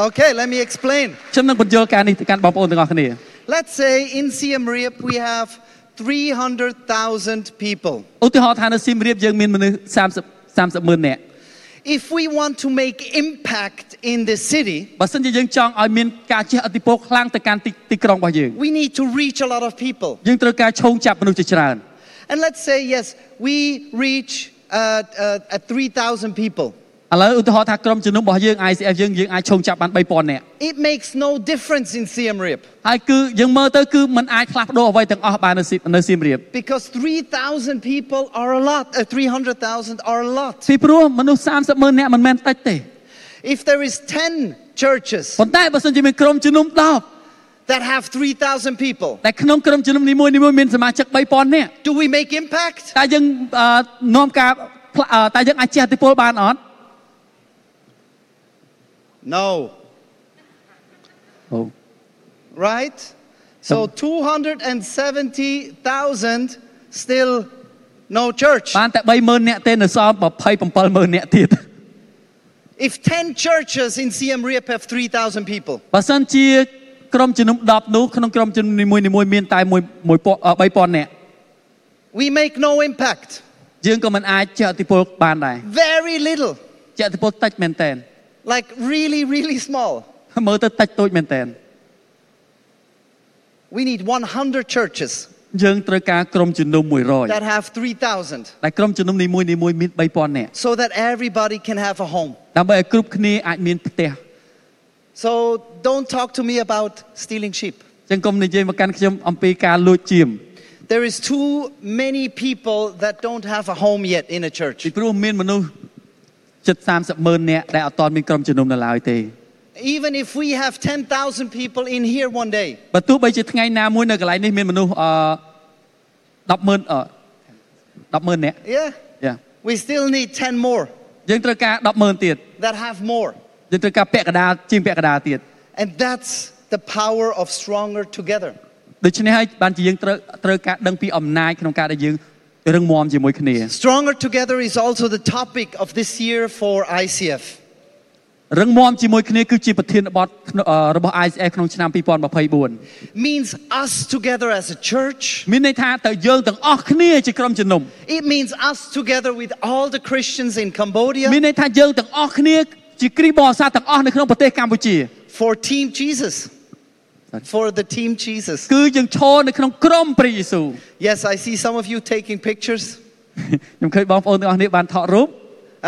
Speaker 1: Okay, let me explain.
Speaker 2: ខ្ញុំនឹងបញ្យល់ការនេះទៅកាន់បងប្អូនទាំងអស់គ្នា
Speaker 1: Let's say in Siem Reap we have 300,000 people.
Speaker 2: ឧទាហរណ៍ថានៅសៀមរាបយើងមានមនុស្ស30 30ម៉ឺននាក់
Speaker 1: If we want to make impact in the city,
Speaker 2: បើសិនជាយើងចង់ឲ្យមានការជះឥទ្ធិពលខ្លាំងទៅកាន់ទីទីក្រុងរបស់យើង
Speaker 1: we need to reach a lot of people.
Speaker 2: យើងត្រូវការឆោងចាប់មនុស្សជាច្រើន
Speaker 1: And let's say, yes, we reach uh, uh, uh, 3,000 people.
Speaker 2: ឥឡូវឧទាហរណ៍ថាក្រុមជំនុំរបស់យើង ICF យើងយើងអាចឆោងចាប់បាន3000នាក់
Speaker 1: It makes no difference in Siem Reap
Speaker 2: ហើយគឺយើងមើលទៅគឺมันអាចផ្លាស់ប្ដូរអ្វីទាំងអស់បាននៅសៀមនៅសៀមរាប
Speaker 1: because 3,000 people are a lot, uh, 300,000 are a lot.
Speaker 2: ពីព្រោះមនុស្ស30ម៉ឺននាក់មិនមែនតិចទេ
Speaker 1: If there is 10 churches
Speaker 2: ប៉ុន្តែបើសិនជាមានក្រុមជំនុំ10
Speaker 1: that have 3,000 people,
Speaker 2: ដែលក្នុងក្រុមជំនុំនីមួយៗមានសមាជិក3000នាក់
Speaker 1: do we make impact?
Speaker 2: តើយើងអឺនាំការផ្លាស់អឺតើយើងអាចជះឥទ្ធិពលបានអត់
Speaker 1: No,
Speaker 2: អូ
Speaker 1: right? So 270,000 still no church.
Speaker 2: បានតែ30000នាក់ទេនៅសល់27000នាក់ទៀត
Speaker 1: If 10 churches in Siem Reap have 3,000 people,
Speaker 2: បើសិនជាក្រុមជំនុំ10នោះក្នុងក្រុមជំនុំនីមួយៗមានតែ1 3000នាក់
Speaker 1: we make no impact.
Speaker 2: យើងក៏មិនអាចជះឥទ្ធិពលបានដែរ
Speaker 1: Very little,
Speaker 2: ជះឥទ្ធិពលតិចមែនតែន
Speaker 1: like really, really small.
Speaker 2: មើលទៅតិចតូចមែនតែន
Speaker 1: We need 100 churches
Speaker 2: យើងត្រូវការក្រុមជំនុំ
Speaker 1: that
Speaker 2: 100
Speaker 1: have 3,000
Speaker 2: តែក្រុមជំនុំនីមួយៗមាន3000នាក់
Speaker 1: so that everybody can have a home.
Speaker 2: ដើម្បីឲ្យគ្រប់គ្នាអាចមានផ្ទះ
Speaker 1: So don't talk to me about stealing sheep.
Speaker 2: ចឹងកុំនិយាយមកកាន់ខ្ញុំអំពីការលួចជាម
Speaker 1: There is too many people that don't have a home yet in a
Speaker 2: ពី
Speaker 1: church.
Speaker 2: ព្រោះមានមនុស្សជិត30ម៉ឺននាក់ដែលអត់ទាន់មានក្រុមជំនុំនៅឡើយទេ
Speaker 1: Even if we have 10,000 people in here one day,
Speaker 2: បើទោះបីជាថ្ងៃណាមួយនៅកន្លែងនេះមានមនុស្សអឺ10ម៉ឺនអឺ10ម៉ឺននាក់
Speaker 1: yeah,
Speaker 2: យ៉ា
Speaker 1: we still need 10 more
Speaker 2: យើងត្រូវការ10ម៉ឺនទៀត
Speaker 1: that have more.
Speaker 2: យើងត្រូវការពាក់កណ្ដាលជាងពាក់កណ្ដាលទៀត
Speaker 1: And that's the power of stronger together.
Speaker 2: ដូច្នេះហើយបានជាយើងត្រូវត្រូវការដឹងពីអំណាចក្នុងការដែលយើងរឹងមាំជាមួយគ្នា
Speaker 1: Stronger together is also the topic of this year for ICF.
Speaker 2: រឹងមាំជាមួយគ្នាគឺជាប្រធានបទក្នុងអឺរបស់ ISF ក្នុងឆ្នាំ2024
Speaker 1: Means us together as a church.
Speaker 2: មានន័យថាតើយើងទាំងអស់គ្នាជាក្រុមជំនុំ
Speaker 1: It means us together with all the Christians in Cambodia
Speaker 2: មានន័យថាយើងទាំងអស់គ្នាជាគ្រីស្ទបរិស័ទទាំងអស់នៅក្នុងប្រទេសកម្ពុជា
Speaker 1: for Team Jesus. For the Team Jesus.
Speaker 2: គឺយើងឈរនៅក្នុងក្រុមព្រះយេស៊ូវ
Speaker 1: Yes, I see some of you taking pictures.
Speaker 2: [laughs] ខ្ញុំឃើញបងប្អូនទាំងអស់គ្នាបានថតរូប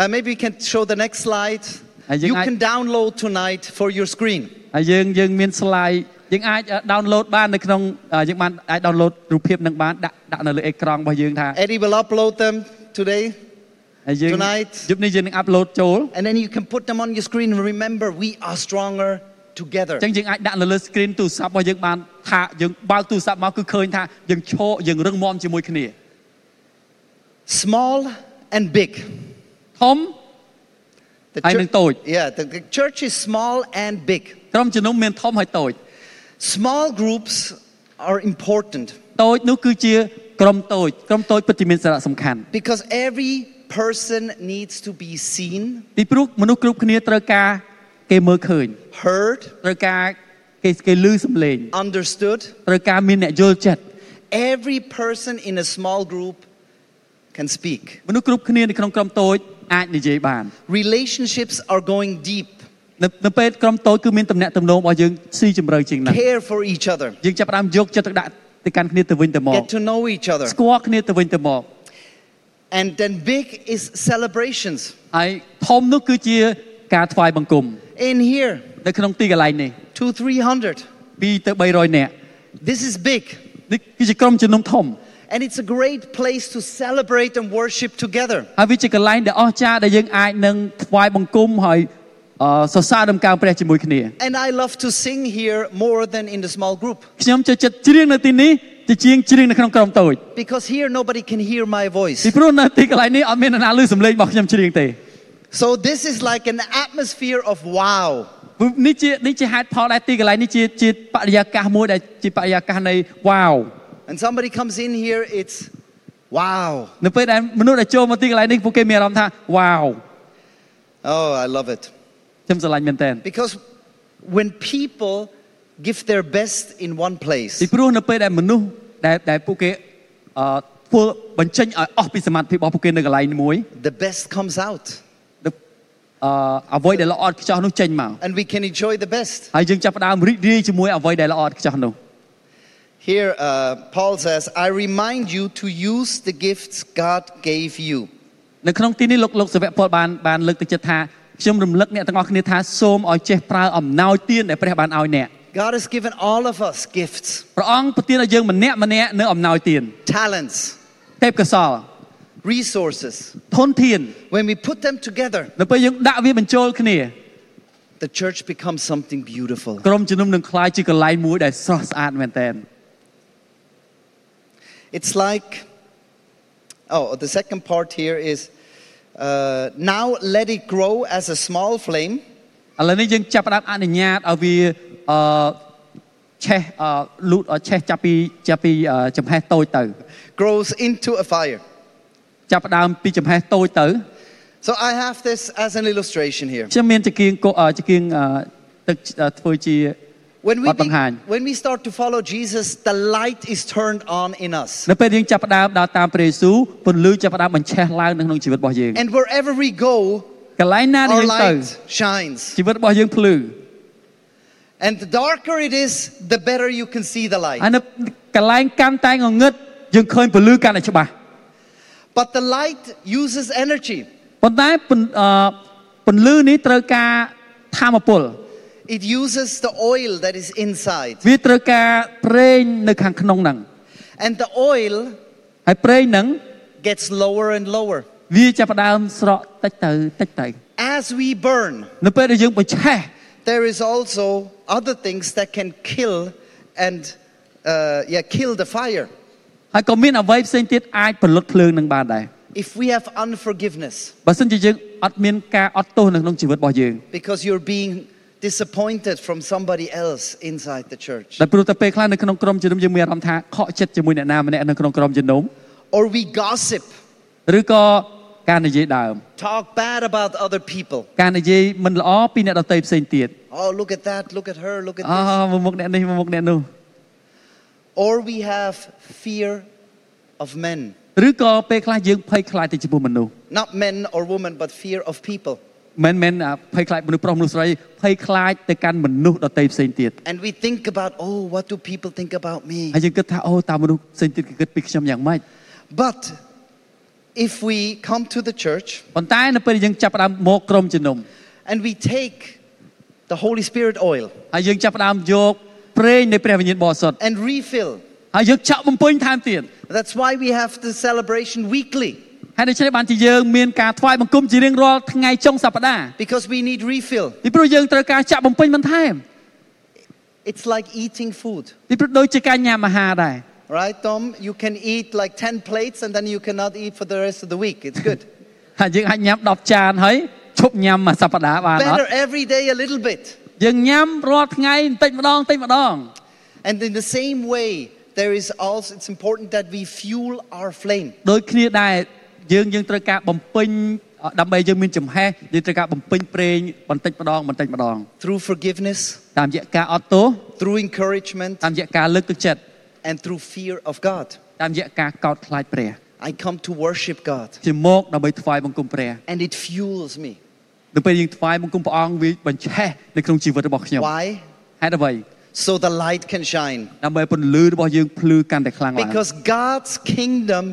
Speaker 1: Uh, maybe you can show the next slide.
Speaker 2: Ah,
Speaker 1: You
Speaker 2: yung ay-
Speaker 1: can download tonight for your screen.
Speaker 2: ហើយយើងយើងមាន slide យើងអាច download បាននៅក្នុងអឺយើងបានអាច download រូបភាពនឹងបានដាក់ដាក់នៅលើអេក្រង់របស់យើងថា
Speaker 1: Eddie will upload them today,
Speaker 2: ហើយយើង
Speaker 1: Tonight.
Speaker 2: យប់នេះយើងនឹង upload ចូល
Speaker 1: and then you can put them on your screen. And remember, we are stronger together.
Speaker 2: អញ្ចឹងយើងអាចដាក់នៅលើ screen ទូរស័ព្ទរបស់យើងបានថាយើងបើកទូរស័ព្ទមកគឺឃើញថាយើងឈរយើងរឹងមាំជាមួយគ្នា
Speaker 1: Small and big,
Speaker 2: ធំ
Speaker 1: The
Speaker 2: Ai nâng tôi.
Speaker 1: yeah, the, the church is small and big.
Speaker 2: ក្រុមជំនុំមានធំហើយតូច
Speaker 1: Small groups are important
Speaker 2: តូចនោះគឺជាក្រុមតូចក្រុមតូចពិតជាមានសារៈសំខាន់
Speaker 1: because every person needs to be seen,
Speaker 2: ពីព្រោះមនុស្សគ្រប់គ្នាត្រូវការគេមើលឃើញ
Speaker 1: heard,
Speaker 2: ត្រូវការគេគេឮសំឡេង
Speaker 1: understood.
Speaker 2: ត្រូវការមានអ្នកយល់ចិត្ត
Speaker 1: Every person in a small group can speak.
Speaker 2: មនុស្សគ្រប់គ្នានៅក្នុងក្រុមតូចអាចនិយាយបាន
Speaker 1: Relationships are going deep.
Speaker 2: នៅនៅពេលក្រុមតូចគឺមានតំណែងតំណងរបស់យើងស៊ីជម្រៅជាងនោះ
Speaker 1: Care for each other.
Speaker 2: យើងចាប់ផ្ដើមយកចិត្តទុកដាក់ទៅកាន់គ្នាទៅវិញទៅមក
Speaker 1: Get to know each other.
Speaker 2: ស្គាល់គ្នាទៅវិញទៅមក
Speaker 1: And then big is celebrations.
Speaker 2: ហើយធំនោះគឺជាការថ្វាយបង្គំ
Speaker 1: In here,
Speaker 2: នៅក្នុងទីកន្លែងនេះ
Speaker 1: two, three hundred.
Speaker 2: 2ទៅ300នាក់
Speaker 1: This is big.
Speaker 2: នេះគឺជាក្រុមជំនុំធំ
Speaker 1: And it's a great place to celebrate and worship together.
Speaker 2: ហើយវាជាកន្លែងដែលអស្ចារ្យដែលយើងអាចនឹងថ្វាយបង្គំហើយអឺសរសើរដំណការព្រះជាមួយគ្នា
Speaker 1: And I love to sing here more than in the small group
Speaker 2: ខ្ញុំចូលចិត្តច្រៀងនៅទីនេះទៅជាងច្រៀងនៅក្នុងក្រុមតូច
Speaker 1: because here nobody can hear my
Speaker 2: ពី
Speaker 1: voice.
Speaker 2: ព្រោះនៅទីកន្លែងនេះអត់មានអ្នកណាឮសំឡេងរបស់ខ្ញុំច្រៀងទេ
Speaker 1: So this is like an atmosphere of wow.
Speaker 2: ព្រោះនេះជានេះជាហេតុផលដែលទីកន្លែងនេះជាជាបរិយាកាសមួយដែលជាបរិយាកាសនៃ wow
Speaker 1: And somebody comes in here, it's wow.
Speaker 2: នៅពេលដែលមនុស្សដែលចូលមកទីកន្លែងនេះពួកគេមានអារម្មណ៍ថា wow
Speaker 1: Oh, I love it.
Speaker 2: ខ្ញុំស្រឡាញ់មែនតើ
Speaker 1: Because when people give their best in one
Speaker 2: ពី
Speaker 1: place,
Speaker 2: ព្រោះនៅពេលដែលមនុស្សដែលដែលពួកគេអឺធ្វើបញ្ចេញឲ្យអស់ពីសមត្ថភាពរបស់ពួកគេនៅកន្លែងមួយ
Speaker 1: the best comes out
Speaker 2: ទៅអឺអ្វីដែលល្អឥតខ្ចោះនោះចេញមក
Speaker 1: and we can enjoy the best.
Speaker 2: ហើយយើងចាប់ផ្ដើមរីករាយជាមួយអ្វីដែលល្អឥតខ្ចោះនោះ
Speaker 1: Here, uh, Paul says, I remind you to use the gifts God gave you.
Speaker 2: នៅក្នុងទីនេះលោកលោកសាវកពលបានបានលើកទឹកចិត្តថាខ្ញុំរំលឹកអ្នកទាំងអស់គ្នាថាសូមឲ្យចេះប្រើអំណោយទានដែលព្រះបានឲ្យអ្នក
Speaker 1: God has given all of us gifts,
Speaker 2: ព្រះអង្គប្រទានឲ្យយើងម្នាក់ម្នាក់នៅអំណោយទាន
Speaker 1: talents,
Speaker 2: ទេពកោសល
Speaker 1: resources.
Speaker 2: ធនធាន
Speaker 1: When we put them together,
Speaker 2: នៅពេលយើងដាក់វាបញ្ចូលគ្នា
Speaker 1: the church becomes something beautiful.
Speaker 2: ក្រុមជំនុំនឹងคล้ายជាកន្លែងមួយដែលស្រស់ស្អាតមែនទែន
Speaker 1: It's like, oh, the second part here is uh, now let it grow as a small flame.
Speaker 2: ឥឡូវនេះយើងចាប់ផ្ដើមអនុញ្ញាតឲ្យវាអឺឆេះអឺលូតអឺឆេះចាប់ពីចាប់ពីអឺចំហេះតូចទៅ
Speaker 1: grows into a fire.
Speaker 2: ចាប់ផ្ដើមពីចំហេះតូចទៅ
Speaker 1: So I have this as an illustration here.
Speaker 2: ខ្ញុំមានចង្កៀងកុអឺចង្កៀងអឺទឹកអឺធ្វើជា
Speaker 1: When we,
Speaker 2: Bắt bằng hành.
Speaker 1: when we start to follow Jesus, the light is turned on in us.
Speaker 2: នៅពេលយើងចាប់ផ្ដើមដើរតាមព្រះយេស៊ូវពន្លឺចាប់ផ្ដើមបញ្ឆេះឡើងនៅក្នុងជីវិតរបស់យើង
Speaker 1: And wherever we go,
Speaker 2: កន្លែងណាដែល
Speaker 1: our
Speaker 2: យើងទៅ
Speaker 1: light shines.
Speaker 2: ជីវិតរបស់យើងភ្លឺ
Speaker 1: And the darker it is, the better you can see the light.
Speaker 2: ហើយនៅកន្លែងកាន់តែងងឹតយើងឃើញពន្លឺកាន់តែច្បាស់
Speaker 1: But the light uses energy,
Speaker 2: ប៉ុន្តែពន្អឺពន្លឺនេះត្រូវការធម្មពល
Speaker 1: it uses the oil that is inside.
Speaker 2: វាត្រូវការប្រេងនៅខាងក្នុងហ្នឹង
Speaker 1: And the oil
Speaker 2: ហើយប្រេងហ្នឹង
Speaker 1: gets lower and lower.
Speaker 2: វាចាប់ផ្ដើមស្រក់តិចទៅតិចទៅ
Speaker 1: As we burn,
Speaker 2: នៅពេលដែលយើងបញ្ឆេះ
Speaker 1: there is also other things that can kill and uh, yeah, kill the fire.
Speaker 2: ហើយក៏មានអ្វីផ្សេងទៀតអាចផលិតភ្លើងនឹងបានដែរ
Speaker 1: If we have unforgiveness
Speaker 2: បើសិនជាយើងអត់មានការអត់ទោសនៅក្នុងជីវិតរបស់យើង
Speaker 1: because you're being disappointed from somebody else inside the church,
Speaker 2: ដល់ព្រោះតែពេលខ្លះនៅក្នុងក្រុមជំនុំយើងមានអារម្មណ៍ថាខកចិត្តជាមួយអ្នកណាម្នាក់នៅក្នុងក្រុមជំនុំ
Speaker 1: or we gossip,
Speaker 2: ឬក៏ការនិយាយដើម
Speaker 1: talk bad about other people.
Speaker 2: ការនិយាយមិនល្អពីអ្នកដទៃផ្សេងទៀត
Speaker 1: Oh, look at that, look at her, look at
Speaker 2: អ
Speaker 1: this.
Speaker 2: មកមុខអ្នកនេះមកមុខអ្នកនោះ
Speaker 1: Or we have fear of men.
Speaker 2: ឬក៏ពេលខ្លះយើងភ័យខ្លាចទៅចំពោះមនុស្ស
Speaker 1: Not men or women, but fear of people.
Speaker 2: មិនមែនអាភ័យខ្លាចមនុស្សប្រុសមនុស្សស្រីភ័យខ្លាចទៅកាន់មនុស្សដទៃផ្សេងទៀត
Speaker 1: And we think about, oh, what do people think about me?
Speaker 2: ហើយយើងគិតថាអូតើមនុស្សផ្សេងទៀតគេគិតពីខ្ញុំយ៉ាងម៉េច
Speaker 1: But if we come to the church
Speaker 2: ប៉ុន្តែនៅពេលយើងចាប់ផ្ដើមមកក្រុមជំនុំ
Speaker 1: and we take the Holy Spirit oil
Speaker 2: ហើយយើងចាប់ផ្ដើមយកប្រេងនៃព្រះវិញ្ញាណបរិសុទ្ធ
Speaker 1: and refill,
Speaker 2: ហើយយើងចាក់បំពេញថែមទៀត
Speaker 1: that's why we have the celebration weekly,
Speaker 2: ហើយដូច្នេះបានជាយើងមានការថ្វាយបង្គំជារៀងរាល់ថ្ងៃចុងសប្តាហ៍
Speaker 1: because we need refill.
Speaker 2: ពីព្រោះយើងត្រូវការចាក់បំពេញបន្ថែម
Speaker 1: It's like eating food,
Speaker 2: ពីព្រោះដូចជាការញ៉ាំអាហារដែរ
Speaker 1: right, Tom? You can eat like 10 plates and then you cannot eat for the rest of the week. It's good.
Speaker 2: ហើយយើងអាចញ៉ាំ10ចានហើយឈ ប់ញ៉ាំមួយសប្តាហ៍បានអត់
Speaker 1: better every day a little bit.
Speaker 2: យើងញ៉ាំរាល់ថ្ងៃបន្តិចម្ដងបន្តិចម្ដង
Speaker 1: And in the same way, there is also it's important that we fuel our flame.
Speaker 2: ដូចគ្នាដែរយើងយើងត្រូវការបំពេញដើម្បីយើងមានចំហេះយើងត្រូវការបំពេញប្រេងបន្តិចម្ដងបន្តិចម្ដង
Speaker 1: through forgiveness,
Speaker 2: តាមរយៈការអត់ទោស
Speaker 1: through encouragement,
Speaker 2: តាមរយៈការលើកទឹកចិត្ត
Speaker 1: and through fear of God.
Speaker 2: តាមរយៈការកោតខ្លាចព្រះ
Speaker 1: I come to worship God,
Speaker 2: ជាមកដើម្បីថ្វាយបង្គំព្រះ
Speaker 1: and it fuels me.
Speaker 2: នៅពេលយើងថ្វាយបង្គំព្រះអង្គវាបញ្ឆេះនៅក្នុងជីវិតរបស់ខ្ញុំ
Speaker 1: Why?
Speaker 2: ហេតុអ្វី
Speaker 1: So the light can shine.
Speaker 2: ដើម្បីពន្លឺរបស់យើងភ្លឺកាន់តែខ្លាំងឡើង
Speaker 1: Because God's kingdom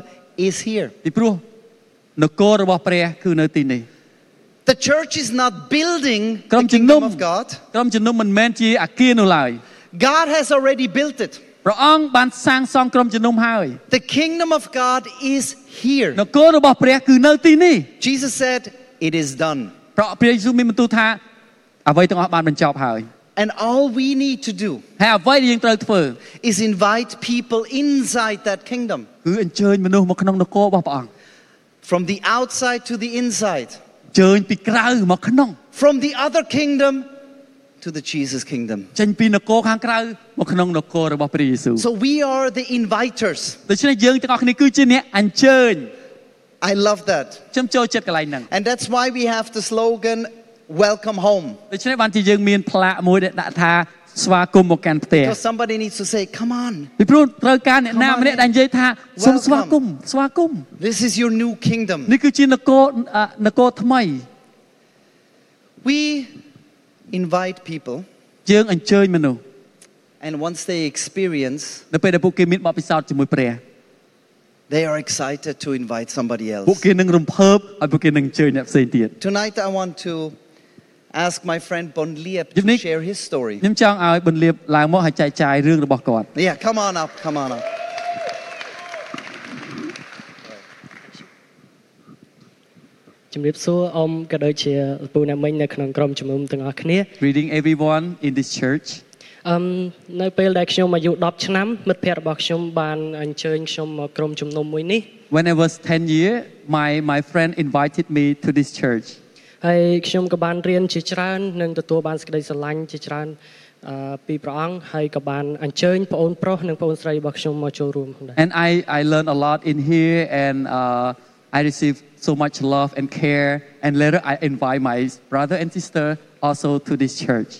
Speaker 1: is here.
Speaker 2: ពីព្រោះនគររបស់ព្រះគឺនៅទីនេះ
Speaker 1: The church is not building
Speaker 2: ក្រុម
Speaker 1: the
Speaker 2: ជំនុំ
Speaker 1: kingdom of God.
Speaker 2: ក្រុមជំនុំមិនមែនជាអាគារនោះឡើយ
Speaker 1: God has already built it.
Speaker 2: ព្រះអង្គបានសាងសង់ក្រុមជំនុំហើយ
Speaker 1: The kingdom of God is here.
Speaker 2: នគររបស់ព្រះគឺនៅទីនេះ
Speaker 1: Jesus said, It is done.
Speaker 2: ព្រះព្រះយេស៊ូវមានបន្ទូលថាអ្វីទាំងអស់បានបញ្ចប់ហើយ
Speaker 1: And all we need to do
Speaker 2: ហើយអ្វីដែលយើងត្រូវធ្វើ
Speaker 1: is invite people inside that kingdom,
Speaker 2: គឺអញ្ជើញមនុស្សមកក្នុងនគររបស់ព្រះអង្គ
Speaker 1: from the outside to the inside,
Speaker 2: អញ្ជើញពីក្រៅមកក្នុង
Speaker 1: from the other kingdom to the Jesus kingdom.
Speaker 2: ចេញពីនគរខាងក្រៅមកក្នុងនគររបស់ព្រះយេស៊ូវ
Speaker 1: So we are the inviters.
Speaker 2: ដូច្នេះយើងទាំងអស់គ្នាគឺជាអ្នកអញ្ជើញ
Speaker 1: I love that.
Speaker 2: ខ្ញុំចូលចិត្តកន្លែងហ្នឹង
Speaker 1: And that's why we have the slogan, Welcome Home.
Speaker 2: ដូច្នេះបានជាយើងមានផ្លាកមួយដែលដាក់ថាស្វាគមន៍មកកាន់ផ្ទះ
Speaker 1: Because somebody needs to say, Come on,
Speaker 2: ពីព្រោះត្រូវការអ្នកណាម្នាក់ដែលនិយាយថាសូមស្វាគមន៍ស្វាគមន៍
Speaker 1: this is your new kingdom.
Speaker 2: នេះគឺជានគរអ่ะនគរថ្មី
Speaker 1: We invite people,
Speaker 2: យើងអញ្ជើញមនុស្ស
Speaker 1: and once they experience,
Speaker 2: នៅពេលដែលពួកគេមានបទពិសោធន៍ជាមួយព្រះ
Speaker 1: they are excited to invite somebody
Speaker 2: ពួក
Speaker 1: else.
Speaker 2: គេនឹងរំភើបហើយពួកគេនឹងអញ្ជើញអ្នកផ្សេងទៀត
Speaker 1: Tonight, I want to ask my friend Bon Liep
Speaker 2: Yep,
Speaker 1: to
Speaker 2: Nick.
Speaker 1: share his story.
Speaker 2: ខ្ញុំចង់ឲ្យបន្លាបឡើងមកហើយចែកចាយរឿងរបស់គាត់
Speaker 1: Yeah, come on up, come on up.
Speaker 3: ။ជំរាបសួរអ៊ំក៏ដូចជាឪពូអ្នកមិញនៅក្នុងក្រុមជំនុំទាំងអស់គ្នា
Speaker 2: Greeting everyone in this church
Speaker 3: អឹមនៅពេលដែលខ្ញុំអាយុ10ឆ្នាំមិត្តភ័ក្តិរបស់ខ្ញុំបានអញ្ជើញខ្ញុំមកក្រុមជំនុំមួយនេះ
Speaker 2: When I was 10 year my my friend invited me to this church
Speaker 3: ហើយខ្ញុំក៏បានរៀនជាច្រើននិងទទួលបានសេចក្តីស្រឡាញ់ជាច្រើនអឺពីព្រះអង្គហើយក៏បានអញ្ជើញប្អូនប្រុសនិងប្អូនស្រីរបស់ខ្ញុំមកចូលរួមផងដែរ
Speaker 2: and I I learned a lot in here and uh I received so much love and care and later I invite my brother and sister also to this church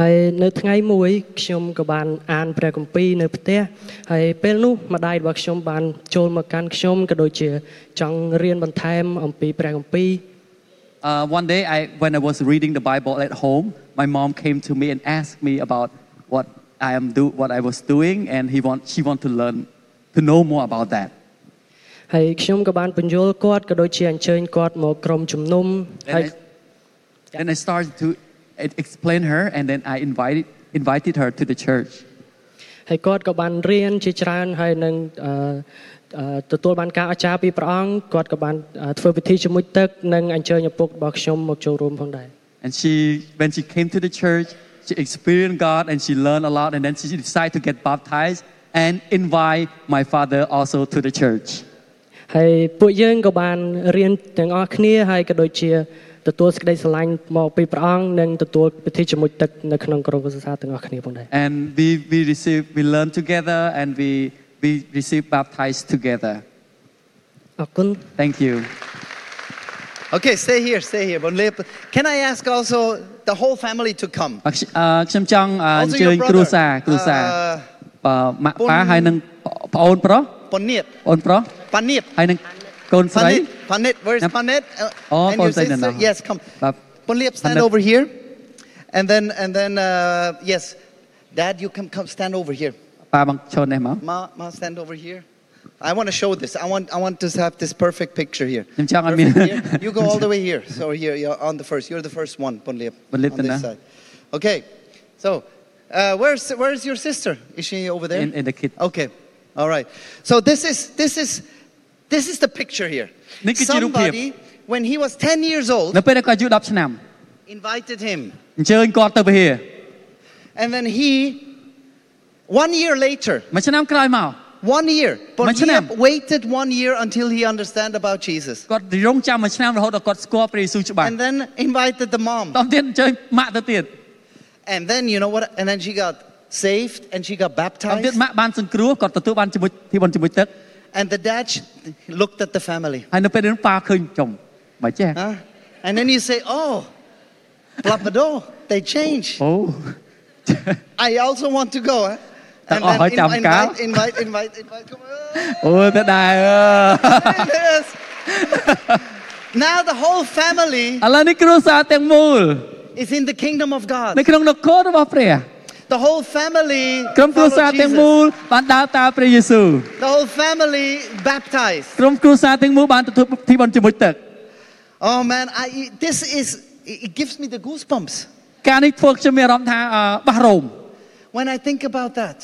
Speaker 3: ហើយនៅថ្ងៃមួយខ្ញុំក៏បានអានព្រះគម្ពីរនៅផ្ទះហើយពេលនោះម្ដាយរបស់ខ្ញុំបានចូលមកកាន់ខ្ញុំក៏ដូចជាចង់រៀនបន្ថែមអំពីព្រះគម្ពីរ
Speaker 2: Uh, one day, I, when I was reading the Bible at home, my mom came to me and asked me about what I am do, what I was doing, and he want, she want to learn to know more about that.
Speaker 3: ហើយខ្ញុំក៏បានបញ្យល់គាត់ក៏ដូចជាអញ្ជើញគាត់មកក្រុមជំនុំហើយ
Speaker 2: And I, and I started to e- explain her, and then I invited invited her to the church.
Speaker 3: ហើយគាត់ក៏បានរៀនជាច្រើនហើយនឹងអឺអឺទទួលបានការអស្ចារ្យពីព្រះអង្គគាត់ក៏បានអឺធ្វើពិធីជាមួយទឹកនិងអញ្ជើញឪពុករបស់ខ្ញុំមកចូលរួមផងដែរ
Speaker 2: And she, when she came to the church, she experienced God and she learned a lot, and then she decided to get baptized and invite my father also to the church.
Speaker 3: ហើយពួកយើងក៏បានរៀនទាំងអស់គ្នាហើយក៏ដូចជាទទួលសេចក្តីស្រឡាញ់មកពីព្រះអង្គនិងទទួលពិធីជាមួយទឹកនៅក្នុងក្រុមគ្រួសារទាំងអស់គ្នាផងដែរ
Speaker 2: And we, we receive, we learn together and we, we receive baptized together.
Speaker 3: អរគុណ
Speaker 2: Thank you.
Speaker 1: Okay, stay here, stay here, Bon Liep. Can I ask also the whole family to come?
Speaker 2: អឺខ្ញអឺខ្ញុំចង់អឺអ
Speaker 1: Also
Speaker 2: ញ្ជើ
Speaker 1: your
Speaker 2: ញគ្រួសារ
Speaker 1: brother,
Speaker 2: គ្រួសារ
Speaker 1: uh,
Speaker 2: បាទម៉ាក់
Speaker 1: ប៉ុន
Speaker 2: ប៉ាហើយនឹងប្អូនប្រុស
Speaker 1: Bon Liep,
Speaker 2: ប្អូនប្រុស
Speaker 1: Bon Liep.
Speaker 2: ហើយនឹងកូនស្រី
Speaker 1: Panit, Panit, where's
Speaker 2: Yep.
Speaker 1: Panit? Uh,
Speaker 2: Oh,
Speaker 1: and your
Speaker 2: Panit,
Speaker 1: sister?
Speaker 2: no.
Speaker 1: Yes, come.
Speaker 2: Pap-
Speaker 1: Panit, stand
Speaker 2: Panit.
Speaker 1: over here. And then, and then, uh, yes, Dad, you can come stand over here.
Speaker 2: ប៉ាមកឈរនេះមក
Speaker 1: Ma, Ma, stand over here. I want to show this. I want, I want to have this perfect picture here.
Speaker 2: Nim chang an
Speaker 1: Perfect
Speaker 2: mi-
Speaker 1: here. You
Speaker 2: [laughs]
Speaker 1: go all the way here. So here, you're on the first. You're the first one, Panit.
Speaker 2: Panit,
Speaker 1: on this
Speaker 2: no.
Speaker 1: side. Okay. So, uh, where's, where's your sister? Is she over there?
Speaker 2: in in the kid
Speaker 1: Okay. All right. So this is this is this is the picture here.
Speaker 2: Nick, could you do
Speaker 1: Somebody when he was 10 years old
Speaker 2: នៅពេលដែលគាត់អាយុ10ឆ្នាំ
Speaker 1: invited him
Speaker 2: អញ្ជើញគាត់ទៅវិហារ
Speaker 1: and then he one year later
Speaker 2: មួយឆ្នាំក្រោយមក
Speaker 1: One year.
Speaker 2: One
Speaker 1: Bartimaeus
Speaker 2: year.
Speaker 1: waited one year until he understand about Jesus.
Speaker 2: គាត់រងចាំមួយឆ្នាំរហូតដល់គាត់ស្គាល់ព្រះយេស៊ូវច្បាស់
Speaker 1: And then invited the mom.
Speaker 2: តោះទៀតអញ្ជើញម៉ាក់ទៅទៀត
Speaker 1: And then, you know what? And then she got saved and she got
Speaker 2: តោះទៀត
Speaker 1: baptized.
Speaker 2: ម៉ាក់បានសង្គ្រោះគាត់ទទួលបានជាមួយធីបនជាមួយទឹក
Speaker 1: And the dad sh- looked at the family.
Speaker 2: ហើយនៅពេលនោះប៉ាឃើញចំមកចេះ
Speaker 1: Huh? And then you say, oh, Plapado, they change.
Speaker 2: អូ [laughs]
Speaker 1: I also want to go. Huh? And
Speaker 2: Oh,
Speaker 1: then
Speaker 2: Tom
Speaker 1: in-
Speaker 2: Cow.
Speaker 1: invite, invite, invite, invite. Come on.
Speaker 2: អូទៅដែរអ
Speaker 1: Yes. Now the whole family
Speaker 2: ឺឥឡូវនេះគ្រួសារទាំងមូល
Speaker 1: is in the kingdom of God.
Speaker 2: នៅក្នុងនគររបស់ព្រះ
Speaker 1: The whole family
Speaker 2: ក្រុមគ្រួ
Speaker 1: follow
Speaker 2: សារទាំង
Speaker 1: Jesus.
Speaker 2: មូលបានដើរតាមព្រះយេស៊ូវ
Speaker 1: The whole family baptized.
Speaker 2: ក្រុមគ្រួសារទាំងមូលបានទទួលទីបនជាមួយទឹក
Speaker 1: Oh man, I, this is, it gives me the goosebumps
Speaker 2: ការនេះធ្វើឲ្យខ្ញុំមានអារម្មណ៍ថាអឺបះរោម
Speaker 1: when I think about that.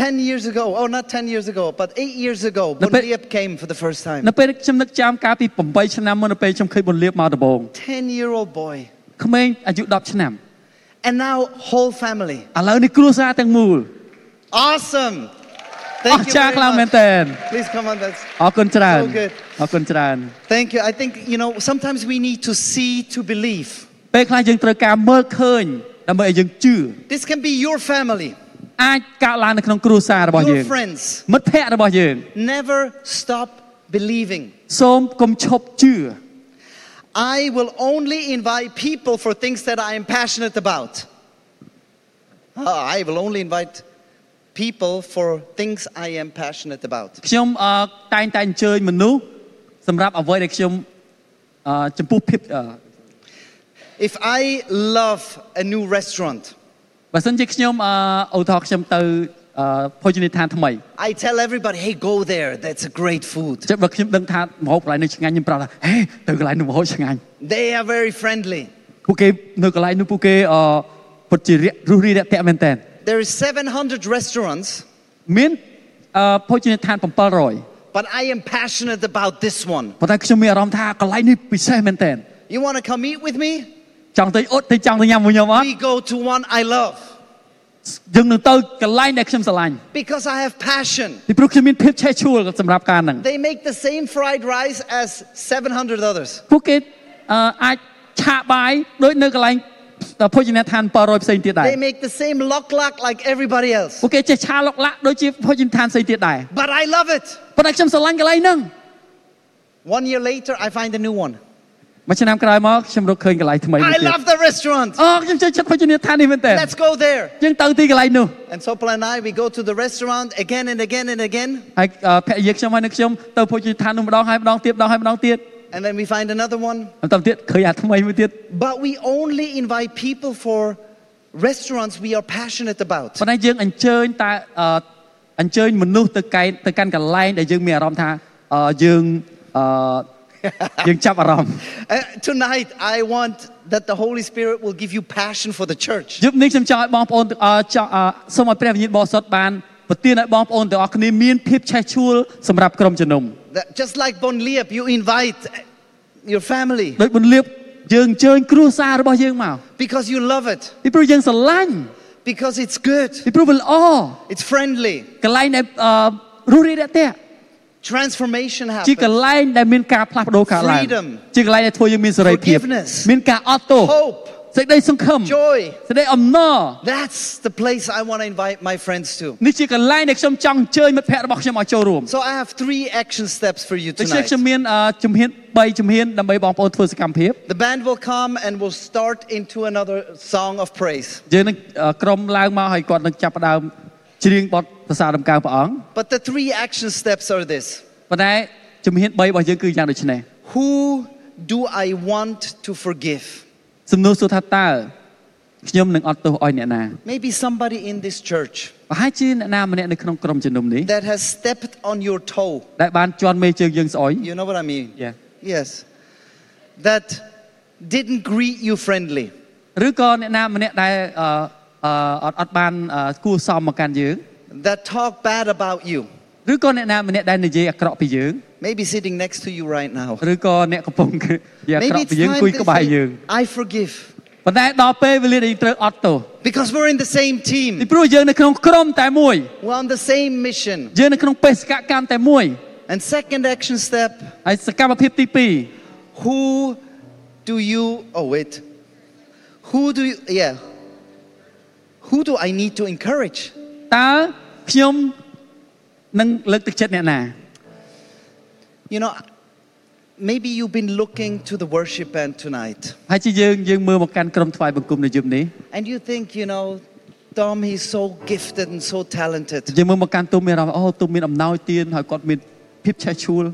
Speaker 1: 10 years ago, oh, not 10 years ago, but 8 years ago,
Speaker 2: The pe-
Speaker 1: Bunliep came for the first time.
Speaker 2: នៅពេលខ្ញុំនឹកចាំកាលពី8ឆ្នាំមុននៅពេលខ្ញុំឃើញបុលៀបមកដំបង
Speaker 1: 10 year old boy.
Speaker 2: ក្មេងអាយុ10ឆ្នាំ
Speaker 1: And now, whole family.
Speaker 2: ឥឡូវនេះគ្រួសារទាំងមូល
Speaker 1: Awesome.
Speaker 2: អស្
Speaker 1: Thank you
Speaker 2: ចារ្យ
Speaker 1: very
Speaker 2: ខ្លាំងមែន
Speaker 1: much.
Speaker 2: ទែន
Speaker 1: Please come on. That's,
Speaker 2: អរគុណច្រើន
Speaker 1: So good.
Speaker 2: អរគុណច្រើន
Speaker 1: thank you. I think, you know, sometimes we need to see to believe.
Speaker 2: ពេលខ្លះយើងត្រូវការមើលឃើញដើម្បីឲ្យយើងជឿ
Speaker 1: This can be your family,
Speaker 2: អាចកើតឡើងនៅក្នុងគ្រួសាររបស់យើ
Speaker 1: your
Speaker 2: ង
Speaker 1: friends.
Speaker 2: មិត្តភ័ក្តិរបស់យើង
Speaker 1: Never stop believing.
Speaker 2: សូមកុំឈប់ជឿ
Speaker 1: I will only invite people for things that I am passionate about. Ah, I will only invite people for things I am passionate about.
Speaker 2: ខ្ញុំអឺតែងតែអញ្ជើញមនុស្សសម្រាប់អ្វីដែលខ្ញុំអឺចំពោះភាពអឺ
Speaker 1: If I love a new restaurant,
Speaker 2: បើសិនជាខ្ញុំអឺឧទាហរណ៍ខ្ញុំទៅអឺភោជនីយដ្ឋានថ្មី
Speaker 1: I tell everybody, hey, go there, that's a great food.
Speaker 2: ចឹងបើខ្ញុំដឹងថាម្ហូបកន្លែងនេះឆ្ងាញ់ខ្ញុំប្រាប់ថាហេទៅកន្លែងនោះម្ហូបឆ្ងាញ់
Speaker 1: They are very friendly.
Speaker 2: ពួកគេនៅកន្លែងនោះពួកគេអឺពិតជារាក់រុះរាយរាក់ទាក់មែនតើ
Speaker 1: There is 700 restaurants,
Speaker 2: មានអឺភោជនីយដ្ឋាន700
Speaker 1: but I am passionate about this one.
Speaker 2: ប៉ុន្តែខ្ញុំមានអារម្មណ៍ថាកន្លែងនេះពិសេសមែនតើ
Speaker 1: You want to come eat with me?
Speaker 2: ចង់ទៅអត់ទៅចង់ទៅញ៉ាំមួយខ្ញុំអត់
Speaker 1: We go to one I love
Speaker 2: យើងនឹងទៅកន្លែងដែលខ្ញុំស្រឡាញ់
Speaker 1: because I have passion.
Speaker 2: ពីព្រោះខ្ញុំមានភាពឆេះឆួលសម្រាប់ការហ្នឹង
Speaker 1: They make the same fried rice as 700 others.
Speaker 2: ពួកគេអឺអាចឆាកបាយដូចនៅកន្លែងភោជនីយដ្ឋាន700ផ្សេងទៀតដែរ
Speaker 1: They make the same lock lock like everybody else.
Speaker 2: ពួកគេចេះឆាឡុកឡាក់ដូចជាភោជនីយដ្ឋានផ្សេងទៀតដែរ
Speaker 1: But I love it.
Speaker 2: ប៉ុន្តែខ្ញុំស្រឡាញ់កន្លែងហ្នឹង
Speaker 1: One year later, I find a new one.
Speaker 2: មួយឆ្នាំក្រោយមកខ្ញុំរកឃើញកន្លែងថ្មីមួយ
Speaker 1: I
Speaker 2: ទៀត
Speaker 1: love the restaurant.
Speaker 2: អូខ្ញុំចូលចិត្តភោជនីយដ្ឋាននេះមែនតើ
Speaker 1: Let's go there.
Speaker 2: យើងទៅទីកន្លែងនោះ
Speaker 1: And Sopla and I, we go to the restaurant again and again and again.
Speaker 2: ហើយអឺភរិយាខ្ញុំហើយនឹងខ្ញុំទៅភោជនីយដ្ឋាននោះម្ដងហើយម្ដងទៀតម្ដងហើយម្ដងទៀត
Speaker 1: And then we find another one.
Speaker 2: បន្តទៀតឃើញអាថ្មីមួយទៀត
Speaker 1: But we only invite people for restaurants we are passionate about.
Speaker 2: ប៉ុន្តែយើងអញ្ជើញតើអឺអញ្ជើញមនុស្សទៅកែទៅកាន់កន្លែងដែលយើងមានអារម្មណ៍ថាអឺយើង
Speaker 1: [laughs]
Speaker 2: អឺ យើងចាប់អារម្មណ៍
Speaker 1: Uh, tonight, I want that the Holy Spirit will give you passion for the church.
Speaker 2: យប់នេះខ្ញុំចង់ឲ្យបងប្អូនទាំងអស់ចង់អឺសូមឲ្យព្រះវិញ្ញាណបរិសុទ្ធបានប្រទានឲ្យបងប្អូនទាំងអស់គ្នាមានភាពឆេះឆួលសម្រាប់ក្រុមជំនុំ
Speaker 1: That just like Bon Liep, you invite uh, your family
Speaker 2: ដោយបុណ្យលាភយើងអញ្ជើញគ្រួសាររបស់យើងមក
Speaker 1: because you love it,
Speaker 2: ពីព្រោះយើងស្រឡាញ់
Speaker 1: because it's good,
Speaker 2: ពីព្រោះវាល្អ
Speaker 1: it's friendly.
Speaker 2: កន្លែងដែលអឺរុះរាយរាក់ទាក់
Speaker 1: Transformation
Speaker 2: ជាក
Speaker 1: happens.
Speaker 2: ន្លែងដែលមានការផ្លាស់ប្ដូរកើតឡើង
Speaker 1: Freedom.
Speaker 2: ជាកន្លែងដែលធ្វើយើងមានសេរីភាព
Speaker 1: Forgiveness.
Speaker 2: មានការអត់ទោស
Speaker 1: Hope,
Speaker 2: សេចក្តីសង្ឃឹម
Speaker 1: joy.
Speaker 2: សេចក្តីអំណរ
Speaker 1: That's the place I want to invite my friends to.
Speaker 2: នេះជាកន្លែងដែលខ្ញុំចង់អញ្ជើញមិត្តភ័ក្តិរបស់ខ្ញុំមកចូលរួម
Speaker 1: So I have three action steps for you
Speaker 2: ដូច្នេះ
Speaker 1: tonight.
Speaker 2: ខ្ញុំមានអឺជំហាន3ជំហានដើម្បីបងប្អូនធ្វើសកម្មភាព
Speaker 1: The band will come and we'll start into another song of praise.
Speaker 2: យើងនឹងអឺក្រុមឡើងមកហើយគាត់នឹងចាប់ផ្ដើមច្រៀងបទសរសើរដំណើរព្រះអង្គ
Speaker 1: But the three action steps are this
Speaker 2: ប៉ុន្តែជំហាន3របស់យើងគឺយ៉ាងដូចនេះ
Speaker 1: Who do I want to forgive?
Speaker 2: សំណួរសួរថាតើខ្ញុំនឹងអត់ទោសឲ្យអ្នកណា
Speaker 1: Maybe somebody in this church
Speaker 2: ប្រហែលជាអ្នកណាម្នាក់នៅក្នុងក្រុមជំនុំនេះ
Speaker 1: that has stepped on your toe.
Speaker 2: ដែលបានជន់មេជើងយើងស្អុយ
Speaker 1: You know what I mean?
Speaker 2: Yeah.
Speaker 1: Yes. That didn't greet you friendly.
Speaker 2: ឬក៏អ្នកណាម្នាក់ដែលអឺអឺអត់អត់បានអឺគួរសមមកកាន់យើង
Speaker 1: That talked bad about you.
Speaker 2: ឬក៏អ្នកណាម្នាក់ដែលនិយាយអាក្រក់ពីយើង
Speaker 1: Maybe sitting
Speaker 2: [laughs]
Speaker 1: next to you right now.
Speaker 2: ឬក៏អ្នកកំពុងនិយាយអាក្រ
Speaker 1: Maybe
Speaker 2: ក់ពី
Speaker 1: it's
Speaker 2: យើង
Speaker 1: time
Speaker 2: គួយ
Speaker 1: to
Speaker 2: ក្បែរ
Speaker 1: say,
Speaker 2: យើង
Speaker 1: I forgive.
Speaker 2: ប ប៉ុន្តែដល់ពេលវេលាដែលយើងត្រូវអត់ទោស
Speaker 1: because we're in the same
Speaker 2: ពី
Speaker 1: team.
Speaker 2: ព្រោះយើងនៅក្នុងក្រុមតែមួយ
Speaker 1: We're on the same mission.
Speaker 2: យើងនៅក្នុងបេសកកម្មតែមួយ
Speaker 1: And second action step
Speaker 2: ហើយសកម្មភាពទី2
Speaker 1: who do you, oh wait, who do you, yeah, who do I need to encourage?
Speaker 2: តើខ្ញុំនឹងលើកទឹកចិត្តអ្នកណា
Speaker 1: You know, maybe you've been looking to the worship band tonight
Speaker 2: ហើយជាយើងយើងមើលមកកាន់ក្រុមថ្វាយបង្គំនៅយប់នេះ
Speaker 1: and you think, you know, Tom, he's so gifted and so talented.
Speaker 2: យើងមើលមកកាន់ទុំមានអារម្មណ៍អូទុំមានអំណោយទានហើយគាត់មានភាពឆេះឆួល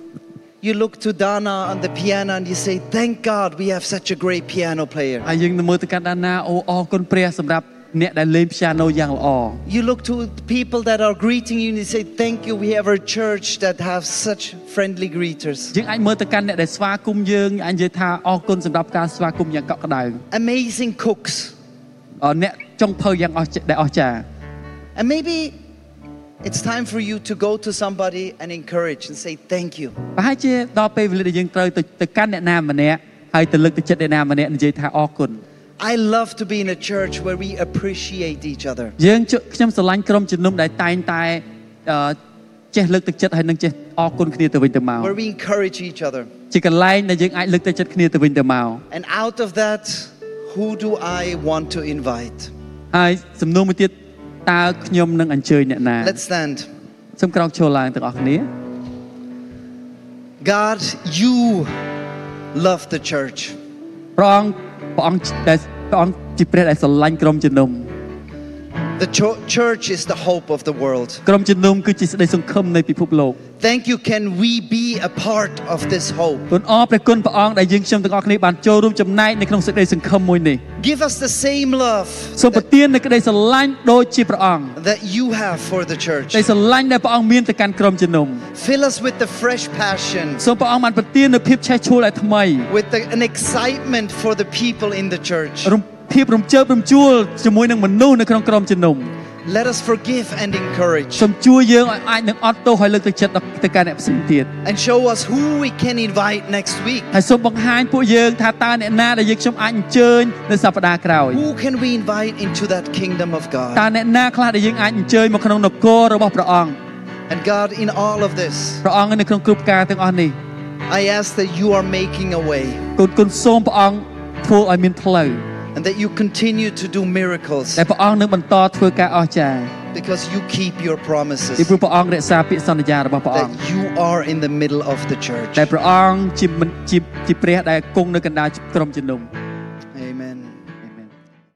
Speaker 1: You look to Dana on the piano and you say, thank God we have such a great piano player.
Speaker 2: ហើយយើងនឹងមើលទៅកាន់ដានណាអូអរគុណព្រះសម្រាប់អ្នកដែលលេងព្យ៉ាណូយ៉ាងល្អ
Speaker 1: You look to people that are greeting you and you say, thank you, we have a church that have such friendly greeters.
Speaker 2: យើងអាចមើលទៅកាន់អ្នកដែលស្វាគមន៍យើងអាចនិយាយថាអរគុណសម្រាប់ការស្វាគមន៍យ៉ាងកក់ក្ដៅ
Speaker 1: Amazing cooks.
Speaker 2: អរអ្នកចុងភៅយ៉ាងអស្ចារ្យដែលអស្ចារ្យ
Speaker 1: And maybe it's time for you to go to somebody and encourage and say, thank you.
Speaker 2: ប្រហែលជាដល់ពេលវេលាដែលយើងត្រូវទៅទៅកាន់អ្នកណាម្នាក់ហើយទៅលើកទឹកចិត្តអ្នកណាម្នាក់និយាយថាអរគុណ
Speaker 1: I love to be in a church where we appreciate each other.
Speaker 2: យើងជខ្ញុំស្រឡាញ់ក្រុមជំនុំដែលតែងតែអឺចេះលើកទឹកចិត្តហើយនឹងចេះអរគុណគ្នាទៅវិញទៅមក
Speaker 1: where we encourage each other.
Speaker 2: ជាកន្លែងដែលយើងអាចលើកទឹកចិត្តគ្នាទៅវិញទៅមក
Speaker 1: And out of that, who do I want to invite?
Speaker 2: ហើយសំណួរមួយទៀតតើខ្ញុំនឹងអញ្ជើញអ្នកណា
Speaker 1: Let's stand.
Speaker 2: សូមក្រោកឈរឡើងទាំងអស់គ្នា
Speaker 1: God, you love the church.
Speaker 2: ព្រះអង្គព្រះអង្គដែលព្រះអង្គជាព្រះដែលស្រឡាញ់ក្រុមជំនុំ
Speaker 1: The cho- church is the hope of the world.
Speaker 2: ក្រុមជំនុំគឺជាសេចក្តីសង្ឃឹមនៃពិភពលោក
Speaker 1: Thank you. Can we be a part of this hope?
Speaker 2: គុណអរព្រះគុណព្រះអង្គដែលយើងខ្ញុំទាំងអស់គ្នាបានចូលរួមចំណែកនៅក្នុងសេចក្តីសង្ឃឹមមួយនេះ
Speaker 1: Give us the same love
Speaker 2: សូមប្រទាននូវក្តីស្រឡាញ់ដូចជាព្រះអង្គ
Speaker 1: that you have for the church.
Speaker 2: ក្តីស្រឡាញ់ដែលព្រះអង្គមានទៅកាន់ក្រុមជំនុំ
Speaker 1: Fill us with the fresh passion,
Speaker 2: សូមព្រះអង្គបានប្រទាននូវភាពឆេះឆួលឲ្យថ្មី
Speaker 1: with the, an excitement for the people in the church.
Speaker 2: រំភាពរំជើបរំជួលជាមួយនឹងមនុស្សនៅក្នុងក្រុមជំនុំ
Speaker 1: Let us forgive and encourage,
Speaker 2: សូមជួយយើងឲ្យអាចនឹងអត់ទោសឲ្យលើកទឹកចិត្តដល់ទៅកាន់អ្នកផ្សេងទៀត
Speaker 1: and show us who we can invite next week.
Speaker 2: ហើយសូមបង្ហាញពួកយើងថាតើអ្នកណាដែលយើងខ្ញុំអាចអញ្ជើញនៅសប្តាហ៍ក្រោយ
Speaker 1: Who can we invite into that kingdom of
Speaker 2: តើ
Speaker 1: God?
Speaker 2: អ្នកណាខ្លះដែលយើងអាចអញ្ជើញមកក្នុងនគររបស់ព្រះអង្គ
Speaker 1: And God, in all of this,
Speaker 2: ព្រះអង្គនៅក្នុងគ្រប់ការទាំងអស់នេះ
Speaker 1: I ask that you are making a way
Speaker 2: គុណគុណសូមព្រះអង្គធ្វើឲ្យមានផ្លូវ
Speaker 1: and that you continue to do miracles
Speaker 2: ដែលព្រះអង្គនឹងបន្តធ្វើការអស្ចារ្យ
Speaker 1: because you keep your
Speaker 2: ពី
Speaker 1: promises
Speaker 2: ព្រោះព្រះអង្គរក្សាពាក្យសន្យារបស់ព្រះអង្គ
Speaker 1: that you are in the middle of the
Speaker 2: ដែល
Speaker 1: church.
Speaker 2: ព្រះអង្គជាមិនជាជាព្រះដែលគង់នៅកណ្ដាលក្រុមជំនុំ